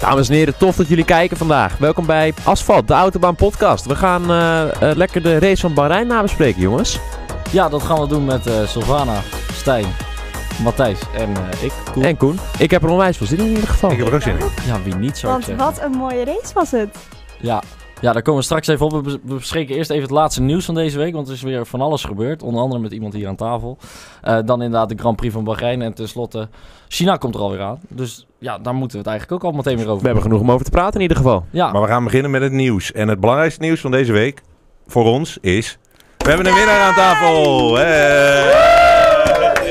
Dames en heren, tof dat jullie kijken vandaag. Welkom bij Asfalt, de Autobaan Podcast. We gaan eh, eh, lekker de race van Bahrein nabespreken, jongens. Ja, dat gaan we doen met eh, Sylvana, Stijn, Matthijs en eh, ik. Koen. En Koen, ik heb er onwijs veel zin in in ieder geval. Ik heb er ook zin in. Ja, wie niet zou ik Want zeggen. wat een mooie race was het. Ja. ja, daar komen we straks even op. We bes- We bespreken eerst even het laatste nieuws van deze week, want er is weer van alles gebeurd. Onder andere met iemand hier aan tafel. Eh, dan inderdaad de Grand Prix van Bahrein en tenslotte China komt er alweer aan. Dus ja, daar moeten we het eigenlijk ook al meteen weer We over hebben genoeg om over te praten in ieder geval. Ja, Maar we gaan beginnen met het nieuws. En het belangrijkste nieuws van deze week voor ons is... We hebben een winnaar aan tafel! Hey!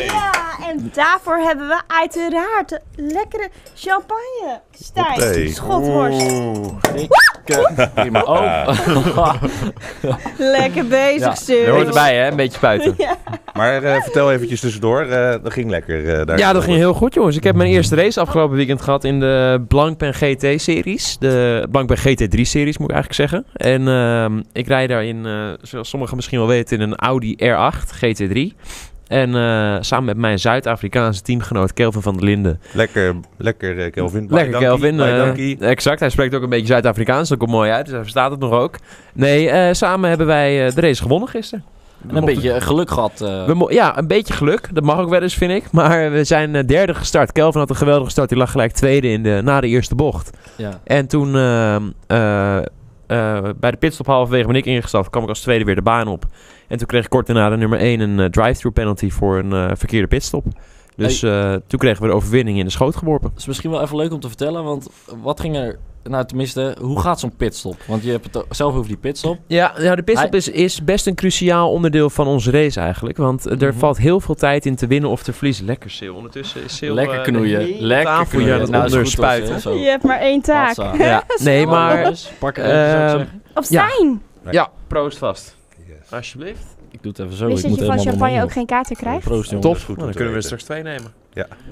Ja, en daarvoor hebben we uiteraard de lekkere champagne. Stijn, Hoppatee. schotworst. Oeh. dikke prima. Oh. Lekker bezig, Ja, ja, Je hoort erbij, hè? Een beetje spuiten. Maar eh, vertel eventjes tussendoor, eh, dat ging lekker eh, daar. Ja, dat ging heel goed, jongens. Ik heb mijn eerste race afgelopen weekend gehad in de Blankpen GT-series. De Blankpen GT3-series, moet ik eigenlijk zeggen. En ehm, ik rijd daarin, eh, zoals sommigen misschien wel weten, in een Audi R8 GT3. En eh, samen met mijn Zuid-Afrikaanse teamgenoot Kelvin van der Linden. Lekker, lekker eh, Kelvin. Lekker, Dankie, Kelvin. bye, eh, dankie. exact, hij spreekt ook een beetje Zuid-Afrikaans. Dat komt mooi uit, dus hij verstaat het nog ook. Nee, eh, samen hebben wij eh, de race gewonnen gisteren. En een beetje geluk gehad. eh. We mo- ja, een beetje geluk. Dat mag ook wel eens, vind ik. Maar we zijn eh, derde gestart. Kelvin had een geweldige start. Die lag gelijk tweede in de, na de eerste bocht. ja. En toen eh, eh, eh, bij de pitstop halverwege ben ik ingestapt. kwam ik als tweede weer de baan op. En toen kreeg ik kort daarna de nummer 1 een eh, drive-through penalty voor een eh, verkeerde pitstop. Dus eh, toen kregen we de overwinning in de schoot geworpen. is misschien wel even leuk om te vertellen, want wat ging er... Nou, tenminste, hoe gaat zo'n pitstop? Want je hebt het o- zelf over die pitstop. Ja, nou, de pitstop is, is best een cruciaal onderdeel van onze race eigenlijk. Want eh, er Mhm. valt heel veel tijd in te winnen of te verliezen. Lekker, Sil. Ondertussen is Sil... Lekker eh, knoeien. de hele Lekker tafel hier knoeien. aan het Nou, is goed, onderspuiten. Jos, hè, zo. Je hebt maar één taak. eh, Hatsa. Ja, nee, maar... Dus, pak er even, zou ik Ehm, zeggen. Of Ja. Stijn. Ja, proost vast. Yes. Alsjeblieft. Ik doe het even zo. Wist ik dat moet je van helemaal champagne omhoog. ook geen kaarten krijgt? Proost, jongen. Top. is goed om Nou, dan te kunnen we er weten. straks twee nemen.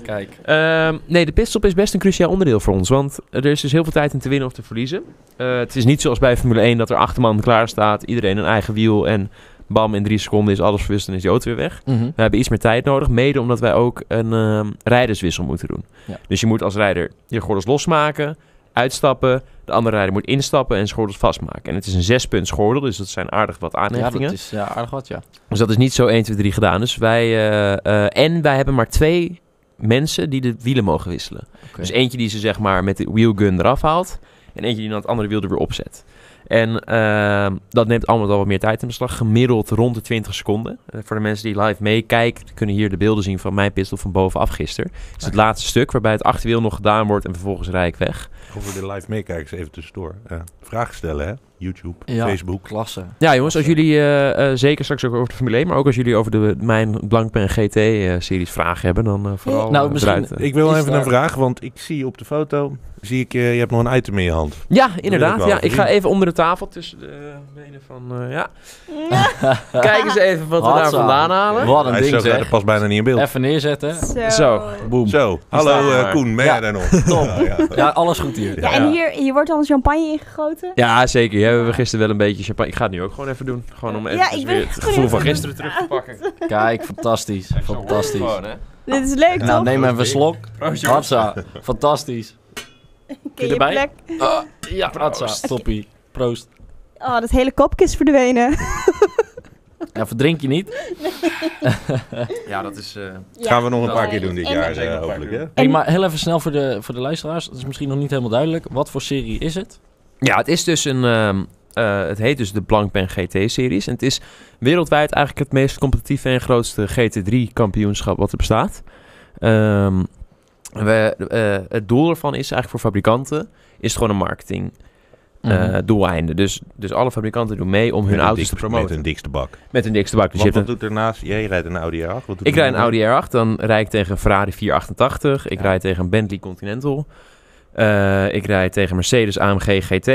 Kijk. Ehm, nee, de pitstop is best een cruciaal onderdeel voor ons. Want er is dus heel veel tijd in te winnen of te verliezen. Eh, het is niet zoals bij Formule 1 dat er acht man klaar staat. Iedereen een eigen wiel en bam, in drie seconden is alles verwisseld en is die auto weer weg. We hebben iets meer tijd nodig. Mede omdat wij ook een ehm, rijderswissel moeten doen. Ja. Dus je moet als rijder je gordels losmaken, uitstappen. De andere rijder moet instappen en zijn gordels vastmaken. En het is een zespunt gordel, dus dat zijn aardig wat Ja, aanhechtingen. dat is ja, aardig wat, ja. Dus dat is niet zo 1, 2, 3 gedaan. Dus wij, eh, eh, en wij hebben maar twee mensen die de wielen mogen wisselen. Oké. Dus eentje die ze zeg maar met de wheelgun eraf haalt. En eentje die dan het andere wiel er weer opzet. En ehm, dat neemt allemaal wel wat meer tijd in beslag. Gemiddeld rond de 20 seconden. Eh, voor de mensen die live meekijken, die kunnen hier de beelden zien van mijn pistol van bovenaf gisteren. Het is het laatste stuk waarbij het achterwiel nog gedaan wordt en vervolgens rij ik weg. Over de live meekijkers even tussendoor. Ja. Vragen stellen, hè? YouTube, Ja. Facebook. Klasse. Ja, jongens, als jullie eh, eh, zeker straks ook over de Formule 1, maar ook als jullie over de, mijn Blankpen GT-series vragen hebben, dan eh, vooral. Nou, eh, misschien- eruit, eh. Ik wil Is even daar- een vraag, want ik zie op de foto... Zie ik, eh, je hebt nog een item in je hand. Ja, ik inderdaad. wel Ja, even ik ga zien. even onder de tafel tussen de benen van. eh, ja. Ja. Kijk eens even wat we daar Hatsa. vandaan halen. Wat een Hij is ding, zo zeg. Dat past bijna niet in beeld. Even neerzetten. Zo. Zo. Boom. Zo, hallo staat eh, er. Koen, ben Ja. jij daar nog? Nou Top. Ja, alles goed hier. Ja, en hier, hier wordt al champagne ingegoten. Ja, zeker. Hier hebben we gisteren wel een beetje champagne. Ik ga het nu ook gewoon even doen. Gewoon om Ja, even ik ben weer echt het gevoel benieuwd van hoe gisteren terug te pakken. Kijk, fantastisch. Fantastisch. Gewoon, hè? Dit is leuk, Nou, toch? neem even een slok. Proost, jongens. Hatsa. Fantastisch. Ken je erbij? plek? Ja, Hatsa. Toppie. Proost. Oh, dat hele kopje is verdwenen. Ja, verdrink je niet. Ja, dat is. eh, Gaan we nog een dat- paar keer doen dit en- jaar, Zeker eh, een paar hopelijk. keer. Hè? Hey, maar heel even snel voor de, voor de luisteraars. Dat is misschien nog niet helemaal duidelijk. Wat voor serie is het? Ja, het is dus een. ehm, eh, het heet dus de Blankpen GT-series. En het is wereldwijd eigenlijk het meest competitieve en grootste GT3-kampioenschap wat er bestaat. Ehm, we, eh, het doel ervan is eigenlijk voor fabrikanten, is het gewoon een marketing Mhm. eh doeleinden. Dus, dus alle fabrikanten doen mee om hun Met een auto's dikste- te promoten. Met een dikste bak. Met een dikste bak. Dus je Wat, hebt wat een, doet ernaast? Jij rijdt een Audi R8. Wat doet ik er rijd een nog meer? Audi R8, dan rijd ik tegen een Ferrari 488. Ik Ja. rijd tegen een Bentley Continental. Eh, ik rijd tegen Mercedes AMG GT.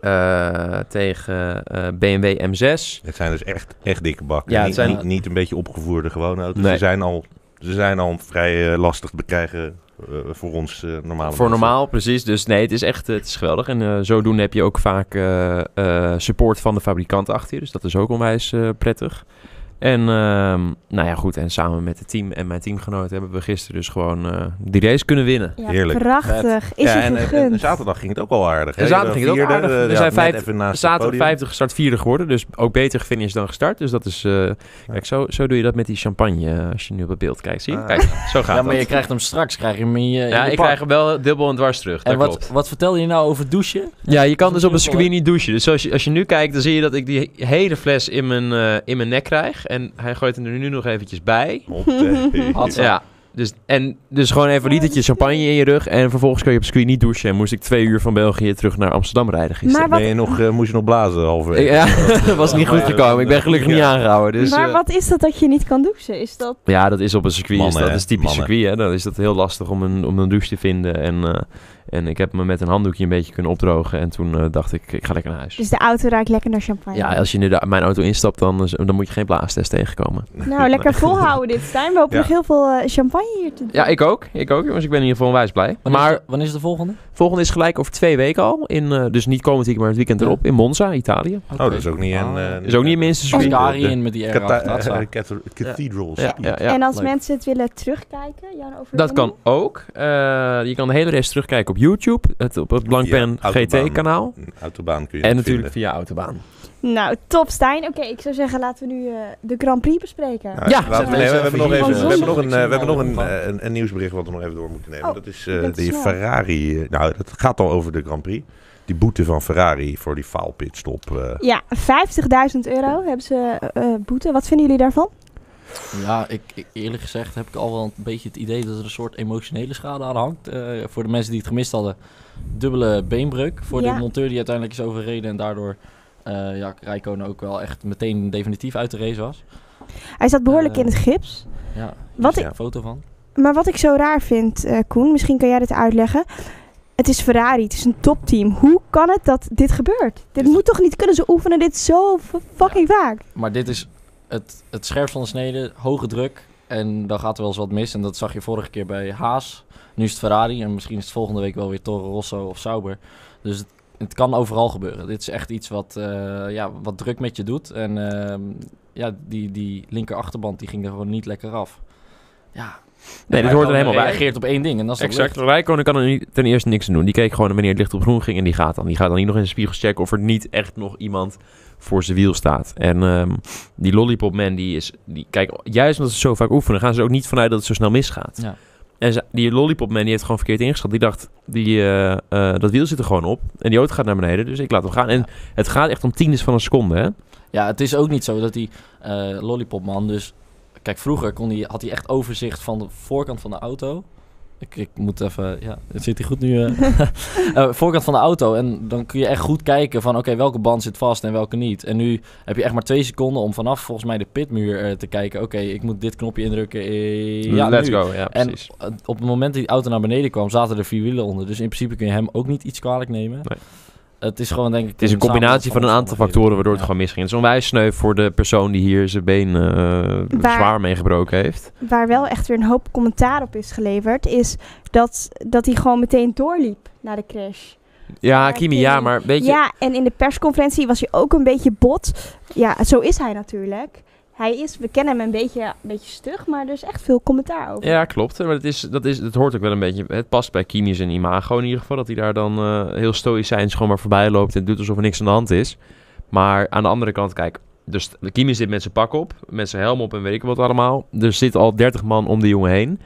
Eh, tegen eh, BMW M6. Het zijn dus echt, echt dikke bakken. Ja, het niet, zijn- niet, niet een beetje opgevoerde gewone auto's. Nee. Ze, zijn al, ze zijn al vrij eh, lastig te bekrijgen eh, voor ons eh normale Voor mensen. normaal, precies. Dus nee, het is echt eh, het is geweldig. En eh, zodoende heb je ook vaak eh, eh, support van de fabrikant achter je. Dus dat is ook onwijs eh, prettig. En ehm, nou ja, goed. En samen met het team en mijn teamgenoot hebben we gisteren dus gewoon eh, die race kunnen winnen. Ja, Heerlijk. Prachtig. Is ja, je en, eh, en- en gegund. zaterdag ging het ook al aardig. hè? En zaterdag De ging het ook vierde, aardig. eh, We ja, zijn net vijf- even naast het Zaterdag podium. 50 start vierde geworden, dus ook beter gefinished dan gestart. Dus dat is. eh, Kijk, zo, zo doe je dat met die champagne eh, als je nu op het beeld kijkt. Zie je? Ah. Kijk, zo gaat Ja, maar dat. je krijgt hem straks, krijg je hem in je, in Ja, je ik pak. krijg hem wel eh, dubbel en dwars terug. En dat wat, klopt. wat vertelde je nou over douchen? Ja, je kan dus op Dat is een heel mooi. circuit niet douchen. Dus als je, als je nu kijkt, dan zie je dat ik die hele fles in mijn, eh, in mijn nek krijg. En hij gooit hem er nu nog eventjes bij. Hoppé. Had- Zo. Ja. Dus, en, dus gewoon even een litertje champagne in je rug. En vervolgens kan je op circuit niet douchen. En moest ik twee uur van België terug naar Amsterdam rijden gisteren. Maar wat, Ben je nog, eh, moest je nog blazen halverwege? Ja, dat was niet goed gekomen. Ik ben gelukkig niet Ja. aangehouden. Dus, maar eh, wat is dat dat je niet kan douchen? Is dat... Ja, dat is op een circuit. Mannen, is dat hè? is typisch Mannen. circuit. Hè? Dan is dat heel lastig om een, om een douche te vinden. En, eh, en ik heb me met een handdoekje een beetje kunnen opdrogen. En toen eh, dacht ik, ik ga lekker naar huis. Dus de auto ruikt lekker naar champagne. Ja, als je nu de- mijn auto instapt, dan, is- dan moet je geen blaastest tegenkomen. Nou, lekker volhouden dit, Stijn. We hopen Ja. nog heel veel eh, champagne hier te doen. Ja, ik ook. Ik ook, jongens. Ik ben in ieder geval onwijs blij. Wanneer, maar Oh, is de, wanneer is de volgende? volgende is gelijk over twee weken al. In, eh, dus niet komend weekend, maar het weekend Ja. erop. In Monza, Italië. Oh, dat is ook niet een... Ah. eh, Is ook niet het minste Als circuit. Dari de- in met die R8. Cata- dat zou- eh, cathe- Cathedral Ja, ja, Speed. ja. en als leuk. mensen het willen terugkijken, jouw overwinning? Dat kan ook. Eh, je kan de hele rest terugkijken op YouTube. Het, op het Blankpen Via Autobaan. GT-kanaal. Een Autobaan kun je En niet natuurlijk vinden. via Autobaan. Nou, top Stijn. Oké, ik zou zeggen laten we nu eh, de Grand Prix bespreken. Nou, Ja, laten we- zetten we nee, eens we hebben even nog hier. even- we hebben nog een, Ik eh, zie we hebben nog hem een, al eh, een, een nieuwsbericht wat we nog even door moeten nemen. Oh, dat is je eh bent die snel. Ferrari. eh, nou, dat gaat al over de Grand Prix. Die boete van Ferrari voor die faalpitstop. eh Ja, 50.000 euro hebben ze eh, eh, boete. Wat vinden jullie daarvan? Ja, ik, ik- eerlijk gezegd heb ik al wel een beetje het idee dat er een soort emotionele schade aan hangt. Eh, voor de mensen die het gemist hadden, dubbele beenbreuk. Voor Ja. de monteur die uiteindelijk is overreden en daardoor eh ja, Rijkonen ook wel echt meteen definitief uit de race was. Hij zat behoorlijk Eh, in het gips. Ja, dus hier Wat is ik- een foto van. Maar wat ik zo raar vind, eh, Koen, misschien kan jij dit uitleggen. Het is Ferrari, het is een topteam. Hoe kan het dat dit gebeurt? Dit Is- moet toch niet kunnen? Ze oefenen dit zo f- fucking vaak. Maar dit is het, het scherpst van de snede, hoge druk. En dan gaat er wel eens wat mis. En dat zag je vorige keer bij Haas. Nu is het Ferrari. En misschien is het volgende week wel weer Toro Rosso of Sauber. Dus het, het kan overal gebeuren. Dit is echt iets wat, eh, ja, wat druk met je doet. En ehm, ja, die, die linker achterband die ging er gewoon niet lekker af. Ja. dit hoort En er Rijkonen helemaal bij. reageert op één ding en dat is dat Exact. licht. Rijkonen kan er niet, ten eerste niks aan doen. Die keek gewoon wanneer het licht op groen ging en die gaat dan. Die gaat dan niet nog in de spiegel checken of er niet echt nog iemand voor zijn wiel staat. En ehm, die lollipopman, die is... Die, kijk, juist omdat ze zo vaak oefenen, gaan ze er ook niet vanuit dat het zo snel misgaat. Ja. En ze- die lollipopman, die heeft gewoon verkeerd ingeschat. Die dacht, die, eh, eh, dat wiel zit er gewoon op. En die auto gaat naar beneden, dus ik laat hem gaan. En Ja. het gaat echt om tiendes van een seconde, hè? Ja, het is ook niet zo dat die eh, lollipopman dus... Kijk, vroeger kon die, had hij echt overzicht van de voorkant van de auto. Ik, ik moet even... Ja, zit hij goed nu? eh? Eh, voorkant van de auto. En dan kun je echt goed kijken van... Oké, welke band zit vast en welke niet. En nu heb je echt maar twee seconden om vanaf volgens mij de pitmuur eh, te kijken. Oké, ik moet dit knopje indrukken. eh, ja, Let's nu. go, ja, En precies. eh, op het moment dat die auto naar beneden kwam, zaten er vier wielen onder. Dus in principe kun je hem ook niet iets kwalijk nemen. Nee. Het is gewoon denk ik... Het is een combinatie van een aantal factoren waardoor het Ja. gewoon misging. Het is onwijs sneu voor de persoon die hier zijn been eh, Waar- zwaar mee gebroken heeft. Waar wel echt weer een hoop commentaar op is geleverd, is dat, dat hij gewoon meteen doorliep naar de crash. Ja, Ja, Kimi, Kimi. ja, maar weet je... Ja, en in de persconferentie was hij ook een beetje bot. Ja, zo is hij natuurlijk. Hij is, we kennen hem een beetje, een beetje stug, maar er is echt veel commentaar over. Ja, klopt. Maar het, is, dat is, dat hoort ook wel een beetje... Het past bij Kimi zijn imago in ieder geval. Dat hij daar dan eh, heel stoïcijns gewoon maar voorbij loopt... en doet alsof er niks aan de hand is. Maar aan de andere kant, kijk... Dus Kimi zit met zijn pak op, met zijn helm op en weet ik wat allemaal. Er zit al 30 man om die jongen heen.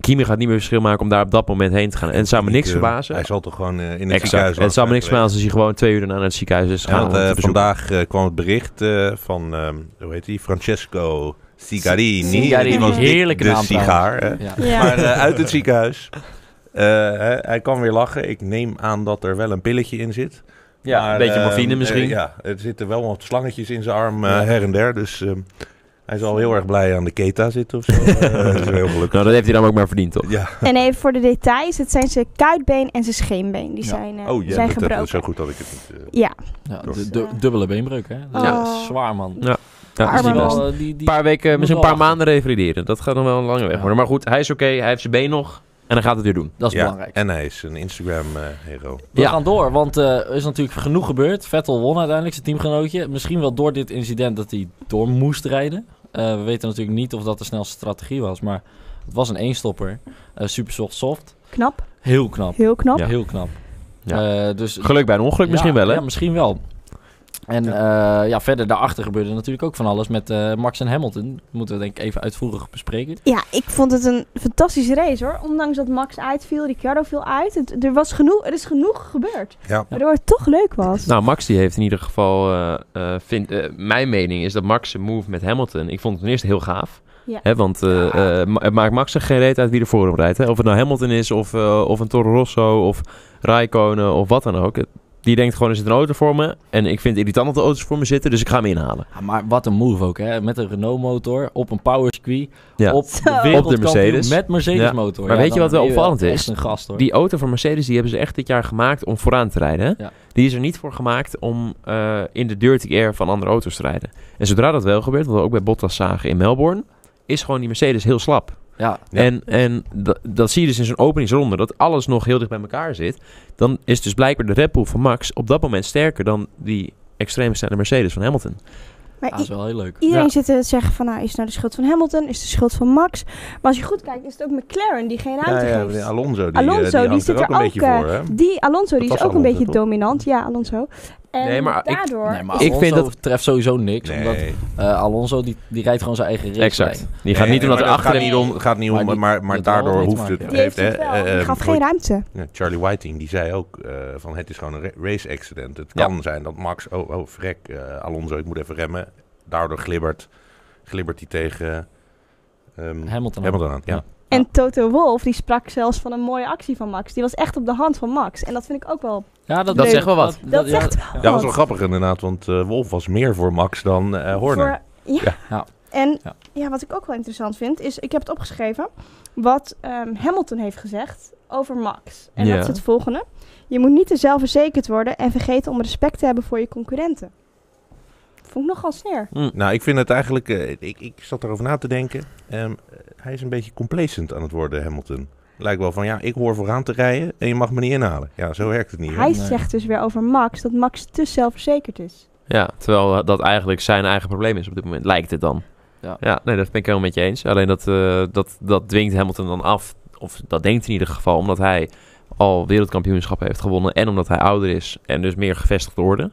Kimi gaat niet meer verschil maken om daar op dat moment heen te gaan. En het zou me niet, niks eh, verbazen. Hij zal toch gewoon eh, in het Exact. ziekenhuis Het zou me niks laten verbazen als hij gewoon twee uur daarna naar het ziekenhuis is Ja, gegaan. want, om eh, te bezoeken. vandaag eh, kwam het bericht eh, van, ehm, hoe heet die, Francesco Cigarini. Cigarini, Die was dik heerlijke de naam sigaar. hè. Ja. Ja. Maar eh, uit het ziekenhuis. Eh, hè, hij kan weer lachen. Ik neem aan dat er wel een pilletje in zit. Ja, Maar, een beetje ehm, morfine eh, misschien. ja, er zitten wel wat slangetjes in zijn arm eh, Ja. her en der. Dus ehm, hij zal heel erg blij aan de keta zitten of zo. Eh, dat is wel heel gelukkig. Nou, dat heeft hij dan ook maar verdiend, toch? Ja. En even voor de details, het zijn zijn kuitbeen en zijn scheenbeen. Die Ja. zijn, eh, Oh, ja, zijn dat, dat gebroken. is zo goed dat ik het niet... eh, Ja, Ja, Door. du- du- dubbele beenbreuk, hè? Dat Ja. is zwaar, man. Ja, dat Arme is niet man. best. wel, eh, die, Een die... paar weken, Moet misschien een wel paar maanden revalideren. Dat gaat dan wel een lange weg Ja. worden. Maar goed, hij is oké, hij heeft zijn been nog. En hij gaat het weer doen. Dat is ja, belangrijk. En hij is een eh, Instagram-hero. We Ja. gaan door, want eh, er is natuurlijk genoeg gebeurd. Vettel won uiteindelijk, zijn teamgenootje. Misschien wel door dit incident dat hij door moest rijden. Eh, Eh, we weten natuurlijk niet of dat de snelste strategie was, maar het was een eenstopper. Eh super soft soft. Knap, Heel knap. heel knap. Ja. Heel knap. Ja. Eh, dus Geluk bij een ongeluk misschien Ja, wel, hè? Ja, misschien wel. En eh, ja, verder daarachter gebeurde natuurlijk ook van alles met eh, Max en Hamilton. Dat moeten we denk ik even uitvoerig bespreken. Ja, ik vond het een fantastische race hoor. Ondanks dat Max uitviel, Ricciardo viel uit. Het- er, was genoeg, er is genoeg gebeurd. Ja. Waardoor het toch leuk was. Nou, Max die heeft in ieder geval... eh, eh, vind, eh, mijn mening is dat Max zijn move met Hamilton... Ik vond het ten eerste heel gaaf. Ja. Hè, want eh, eh, ma- het maakt Max er geen reet uit wie er voor hem rijdt. Hè? Of het nou Hamilton is, of, eh, of een Toro Rosso, of Raikkonen, of wat dan ook. Het- Die denkt gewoon, is het een auto voor me? En ik vind het irritant dat de auto's voor me zitten, dus ik ga hem inhalen. Ja, maar wat een move ook, hè? Met een Renault motor, op een power circuit, Ja. op Zo. de Op de wereldkampioen Mercedes. met Mercedes Ja. motor. Maar weet je dan wat wel ben opvallend is? Echt een gast hoor. Die auto van Mercedes, die hebben ze echt dit jaar gemaakt om vooraan te rijden. hè? Ja. Die is er niet voor gemaakt om eh, in de dirty air van andere auto's te rijden. En zodra dat wel gebeurt, wat we ook bij Bottas zagen in Melbourne, is gewoon die Mercedes heel slap. Ja, Ja. En, en da- dat zie je dus in zo'n openingsronde, dat alles nog heel dicht bij elkaar zit. Dan is dus blijkbaar de Red Bull van Max op dat moment sterker dan die extreem snelle Mercedes van Hamilton. maar ja, i- is wel heel leuk. iedereen Ja. zit te zeggen van, nou, is het nou de schuld van Hamilton? Is het de schuld van Max? Maar als je goed kijkt, is het ook McLaren die geen Ja, ruimte ja, geeft. die Alonso, die, Alonso, eh, die die hangt zit er ook er een beetje ook, eh, voor, hè? Die Alonso, die Dat is was ook een beetje Alonso, toch? dominant. Ja, Alonso. En Nee, maar ik- daardoor... Nee, maar Ik Alonso vind treft sowieso niks. Nee. Omdat eh, Alonso die, die rijdt gewoon zijn eigen race. Exact. lijn. Die gaat Nee, niet omdat nee, maar er dat achter gaat niet om, gaat niet om, Maar maar, die- maar, dat daardoor wel niet hoeft maken. het... Die die heeft hè, het wel. eh, die eh, gaf voor- geen ruimte. Ja, Charlie Whiting die zei ook eh, van het is gewoon een ra- race accident. Het Ja. kan zijn dat Max, oh, oh vrek, eh, Alonso, ik moet even remmen. Daardoor glibbert, glibbert hij tegen ehm, Hamilton. Hamilton aan. Ja. En Toto Wolf, die sprak zelfs van een mooie actie van Max. Die was echt op de hand van Max. En dat vind ik ook wel... Ja, dat, Dat is zegt wel wat. Dat zegt Ja, dat was wel grappig inderdaad, want eh, Wolf was meer voor Max dan eh Horner. Voor- ja. Ja. En Ja. ja. wat ik ook wel interessant vind, is, ik heb het opgeschreven, wat ehm, Hamilton heeft gezegd over Max. En Ja. dat is het volgende. Je moet niet te zelfverzekerd worden en vergeten om respect te hebben voor je concurrenten. Vond ik nogal sneer. Nou, ik vind het eigenlijk, eh, ik, ik zat erover na te denken. Ehm, eh, hij is een beetje complacent aan het worden, Hamilton. Lijkt wel van, ja, ik hoor vooraan te rijden en je mag me niet inhalen. Ja, zo werkt het niet. hè? Hij Nee. zegt dus weer over Max dat Max te zelfverzekerd is. Ja, terwijl eh, dat eigenlijk zijn eigen probleem is op dit moment, lijkt het dan. Ja. Ja, nee, dat ben ik helemaal met je eens. Alleen dat, eh, dat, dat dwingt Hamilton dan af, of dat denkt in ieder geval, omdat hij al wereldkampioenschappen heeft gewonnen en omdat hij ouder is en dus meer gevestigd orde.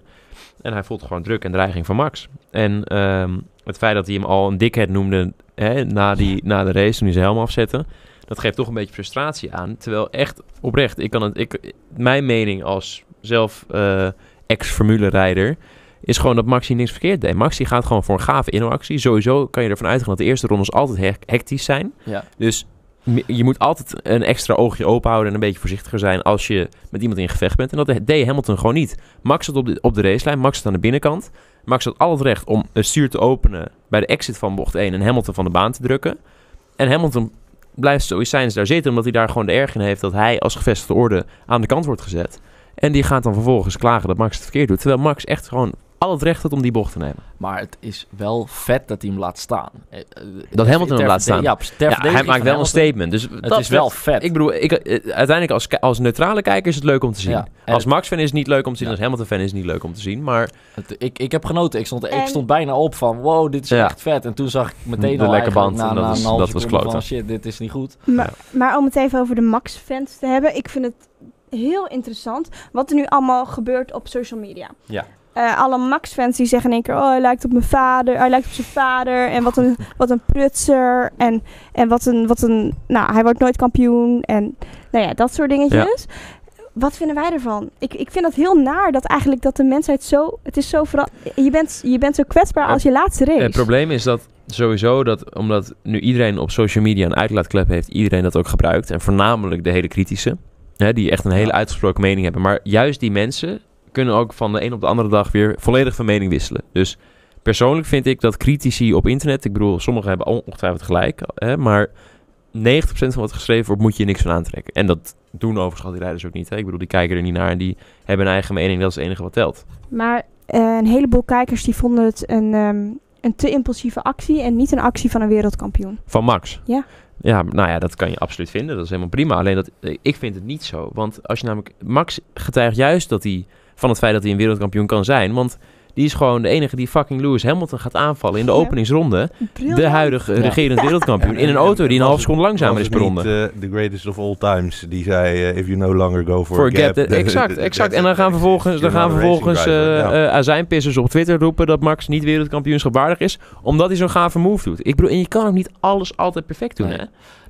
En hij voelt gewoon druk en dreiging van Max. En ehm, het feit dat hij hem al een dikhead noemde hè, na, die, na de race, toen hij zijn helm afzette, dat geeft toch een beetje frustratie aan. Terwijl echt oprecht, ik kan het, ik, mijn mening als zelf eh, ex-formule rijder is gewoon dat Maxi niks verkeerd deed. Maxi gaat gewoon voor een gave inhoudactie. Sowieso kan je ervan uitgaan dat de eerste rondes altijd hec- hectisch zijn. Ja. Dus m- je moet altijd een extra oogje open houden en een beetje voorzichtiger zijn als je met iemand in gevecht bent. En dat deed Hamilton gewoon niet. Max zat op de, op de racelijn, Max zat aan de binnenkant. Max had al het recht om het stuur te openen bij de exit van bocht 1 en Hamilton van de baan te drukken. En Hamilton blijft stoïcijns daar zitten, omdat hij daar gewoon de erg in heeft dat hij als gevestigde orde aan de kant wordt gezet. En die gaat dan vervolgens klagen dat Max het verkeerd doet. Terwijl Max echt gewoon al het recht had om die bocht te nemen. Maar het is wel vet dat hij hem laat staan. Eh, eh, Dat Hamilton hem ter laat verde- staan. Ja, ter Ja, verdediging hij van maakt wel een Hamilton. statement. Dus Het is wel vet. Ik bedoel, ik, eh, uiteindelijk als, ki- als neutrale kijker is het leuk om te zien. Ja, en als het- Max-fan is het niet leuk om te zien. Ja. Als Hamilton-fan is het niet leuk om te zien. Maar Het- ik, ik heb genoten. Ik stond, ik En- stond bijna op van wow, dit is Ja. echt vet. En toen zag ik meteen De al lekke eigenlijk band, na, en na dat was- een halve dat was seconde van kloten. shit, dit is niet goed. Maar, maar om het even over de Max-fans te hebben. Ik vind het heel interessant wat er nu allemaal gebeurt op social media. Ja. Eh, alle Max-fans die zeggen in één keer... Oh, hij lijkt op mijn vader. Hij lijkt op zijn vader. En wat een, wat een prutser. En, en wat, een, wat een... Nou, hij wordt nooit kampioen. En nou ja, dat soort dingetjes. Wat vinden wij ervan? Ik, ik vind dat heel naar dat eigenlijk dat de mensheid zo... Het is zo vera- je, bent, je bent zo kwetsbaar als je laatste race. het probleem is dat sowieso dat omdat nu iedereen op social media een uitlaatklep heeft, iedereen dat ook gebruikt. En voornamelijk de hele kritische. Hè, die echt een hele Ja. uitgesproken mening hebben. Maar juist die mensen kunnen ook van de een op de andere dag weer volledig van mening wisselen. Dus persoonlijk vind ik dat critici op internet, ik bedoel, sommigen hebben on- ongetwijfeld gelijk, hè, maar 90% van wat geschreven wordt, moet je niks van aantrekken. En dat doen overigens al die rijders ook niet. Hè. Ik bedoel, die kijken er niet naar en die hebben een eigen mening. Dat is het enige wat telt. Maar eh, een heleboel kijkers die vonden het een, ehm, een te impulsieve actie en niet een actie van een wereldkampioen. Van Max? Ja. Ja, nou ja, dat kan je absoluut vinden. Dat is helemaal prima. Alleen dat, eh, ik vind het niet zo. Want als je namelijk... Max getuigt juist dat hij... Van het feit dat hij een wereldkampioen kan zijn. Want Die is gewoon de enige die fucking Lewis Hamilton gaat aanvallen in de Ja. openingsronde. De Briljant. huidige Ja. regerend wereldkampioen. In een auto die een half seconde langzamer is per ronde. De eh, greatest of all times, die zei, eh, if you no longer go for, Voor a gap. gap. then- Exact, that's exact. it. En dan gaan That's vervolgens, it. dan You're gaan not a racing vervolgens driver. Ja. eh, eh, azijnpissers op Twitter roepen dat Max niet wereldkampioenschap waardig is. Omdat hij zo'n gave move doet. Ik bedoel, en je kan ook niet alles altijd perfect doen, Nee. hè?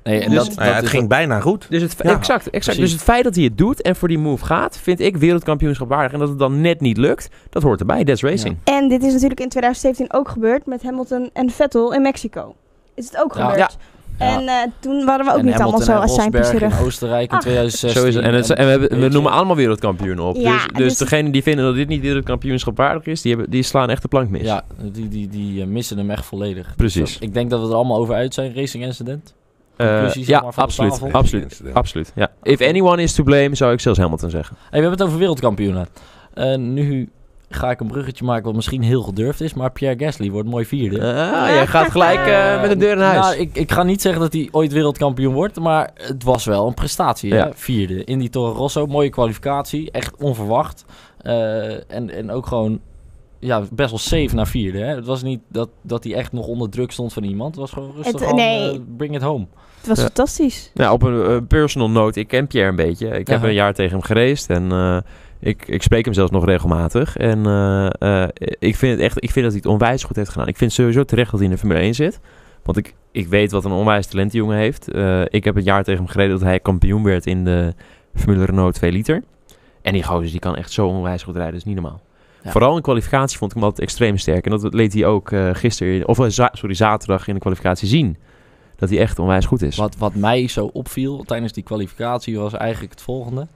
Nee, en Dus- dat, Nou ja, dat het is- ging bijna goed. Dus het, fe- Ja, exact, exact. dus precies. het feit dat hij het doet en voor die move gaat, vind ik wereldkampioenschap waardig. En dat het dan net niet lukt, dat hoort erbij. That's racing. En dit is natuurlijk in 2017 ook gebeurd met Hamilton en Vettel in Mexico. Is het ook Ja. gebeurd? Ja. En eh, toen waren we ook en niet Hamilton allemaal zo en als zijn Rosberg terug. in Oostenrijk in Ah. 2016. Zo is het. En, het- en we, hebben- we weet je. noemen allemaal wereldkampioen op. Ja, dus dus dus- degenen die vinden dat dit niet wereldkampioenschap waardig is, die, hebben, die slaan echt de plank mis. Ja, die, die, die eh, missen hem echt volledig. Precies. Zo, ik denk dat we er allemaal over uit zijn. Racing incident. Eh, conclusie, zeg ja, maar, van de absoluut. tafel. Absoluut. Incident. Absoluut. Ja. If anyone is to blame, zou ik zelfs Hamilton zeggen. Hey, we hebben het over wereldkampioenen. Eh, nu ga ik een bruggetje maken wat misschien heel gedurfd is. Maar Pierre Gasly wordt mooi vierde. Ah, jij gaat gelijk eh, met de deur in Eh, huis. Nou, ik, ik ga niet zeggen dat hij ooit wereldkampioen wordt, maar het was wel een prestatie. Ja. Hè? Vierde in die Toro Rosso, mooie kwalificatie, echt onverwacht. Eh, en, en ook gewoon ja, best wel safe naar vierde. Hè? Het was niet dat, dat hij echt nog onder druk stond van iemand. Het was gewoon rustig Het- aan, nee. eh, bring it home. Het was Ja. fantastisch. Nou, op een eh, personal note, ik ken Pierre een beetje. Ik heb Aha. een jaar tegen hem geraced en eh, ik, ik spreek hem zelfs nog regelmatig. En eh, eh, ik, vind het echt, ik vind dat hij het onwijs goed heeft gedaan. Ik vind sowieso terecht dat hij in de Formule 1 zit. Want ik, ik weet wat een onwijs talent die jongen heeft. Eh, ik heb een jaar tegen hem gereden dat hij kampioen werd in de Formule Renault 2 liter. En die gozer die kan echt zo onwijs goed rijden, dat is niet normaal. Ja. Vooral in kwalificatie vond ik hem altijd extreem sterk. En dat leed hij ook eh, gisteren, of eh, za- sorry, zaterdag in de kwalificatie zien. Dat hij echt onwijs goed is. Wat, wat mij zo opviel tijdens die kwalificatie was eigenlijk het volgende.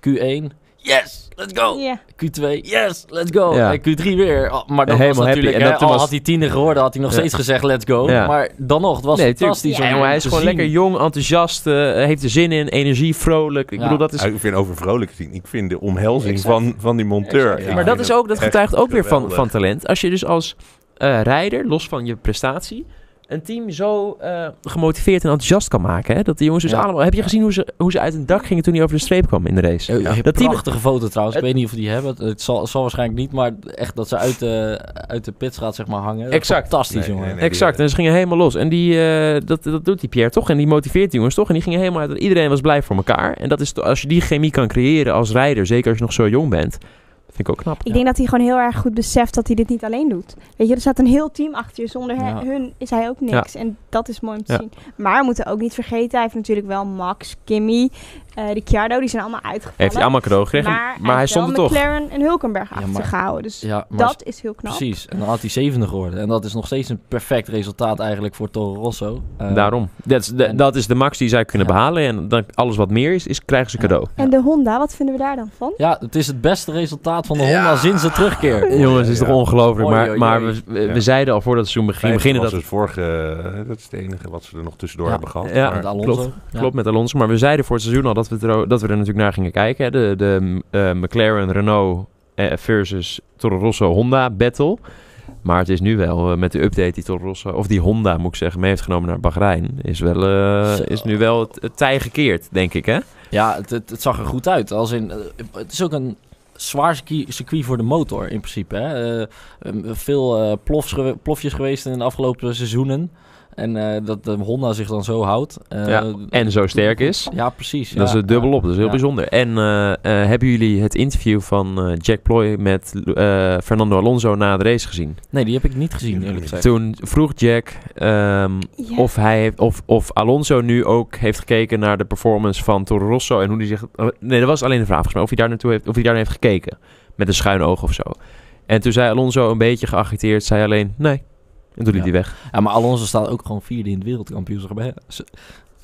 Q1, yes, let's Oh. go! Ja. Q2, yes, let's go. Ja. En Q3 weer. Oh, maar dat Helemaal was happy. natuurlijk... En hè, dat toen al was- had hij tiende geworden, had hij nog Ja. steeds gezegd let's go. Ja. Maar dan nog, het was Nee, fantastisch. tuurlijk. om Ja, jongen, hij is te gewoon zien. lekker jong, enthousiast, eh, heeft er zin in, energie, vrolijk. Ik Ja. bedoel, dat is... Ah, ik vind over vrolijk zien. Ik vind de omhelzing Exact. van, van die monteur. Exact. Ik maar dat vind is ook, dat echt getuigt ook weer van, geweldig. van talent. Als je dus als eh, rijder, los van je prestatie, een team zo eh, gemotiveerd en enthousiast kan maken. Hè? Dat die jongens dus Ja. allemaal... Heb je gezien hoe ze, hoe ze uit een dak gingen toen hij over de streep kwam in de race? Ja, Dat die- prachtige foto trouwens. Ik Het- weet niet of we die hebben. Het- Het zal, het zal waarschijnlijk niet, maar echt dat ze uit de, uit de pits gaat zeg maar hangen. Dat is Exact. Fantastisch, Nee, jongen. nee, nee. Exact, die- en ze gingen helemaal los. En die, eh, dat, dat doet die Pierre toch. En die motiveert die jongens toch. En die gingen helemaal uit. Iedereen was blij voor elkaar. En dat is, to- als je die chemie kan creëren als rijder, zeker als je nog zo jong bent, vind ik ook knap. Ik denk dat hij gewoon heel erg goed beseft dat hij dit niet alleen doet. Weet je, er staat een heel team achter je. Zonder he- Ja. hun is hij ook niks. En dat is mooi om te Ja. zien. Maar we moeten ook niet vergeten, hij heeft natuurlijk wel Max, Kimmy, eh Ricciardo. Die zijn allemaal uitgevallen. Heeft hij allemaal cadeau gekregen, maar, hij heeft stond er wel toch. McLaren en Hulkenberg Ja, achter maar- zich gehouden. Dus Ja, maar dat is heel knap. precies. En dan had hij zevende geworden. En dat is nog steeds een perfect resultaat eigenlijk voor Toro Rosso. Eh, Daarom. Dat is, de, en- dat is de max die zij kunnen Ja. behalen. En dan alles wat meer is, is krijgen ze Ja. cadeau. En de Honda, wat vinden we daar dan van? Ja, het is het beste resultaat van de Ja. Honda sinds de terugkeer. Jongens, het is Ja. toch ongelooflijk. Oei, Maar, oei, maar oei. we, we, we Ja. zeiden al voordat het seizoen begin, Vijftig beginnen was dat het vorige, eh, dat is het enige wat ze er nog tussendoor Ja. hebben gehad. Ja. Met maar- Alonso. klopt. Ja. klopt met Alonso. Maar we zeiden voor het seizoen al dat we, er, o- dat we er natuurlijk naar gingen kijken. Hè. De, de eh, McLaren, Renault eh, versus Toro Rosso Honda battle. Maar het is nu wel eh, met de update die Toro Rosso, of die Honda moet ik zeggen, mee heeft genomen naar Bahrein. Is, wel, eh, Zo. is nu wel het, het tij gekeerd, denk ik. Hè? Ja, het, het, het zag er goed uit. Als in, eh, het is ook een zwaar circuit, circuit voor de motor in principe. Hè? Eh, ehm, veel eh, plofs gewe- plofjes geweest in de afgelopen seizoenen. En eh, dat de Honda zich dan zo houdt. Eh, Ja, en zo sterk is. Ja, precies. Dat ja. is het dubbel op, dat is heel Ja. bijzonder. En eh, eh, hebben jullie het interview van eh, Jack Ploy met eh, Fernando Alonso na de race gezien? Nee, die heb ik niet gezien, eerlijk gezegd. Toen vroeg Jack ehm, Ja. of, hij heeft, of, of Alonso nu ook heeft gekeken naar de performance van Toro Rosso en hoe die zich... eh, nee, dat was alleen de vraag volgens mij, of hij daar naartoe heeft, of hij daar heeft gekeken. Met een schuin oog of zo. En toen zei Alonso een beetje geagiteerd, zei alleen nee. En toen liep Ja. hij weg. Ja, maar Alonso staat ook gewoon vierde in het wereldkampioenschap. hè. Ze-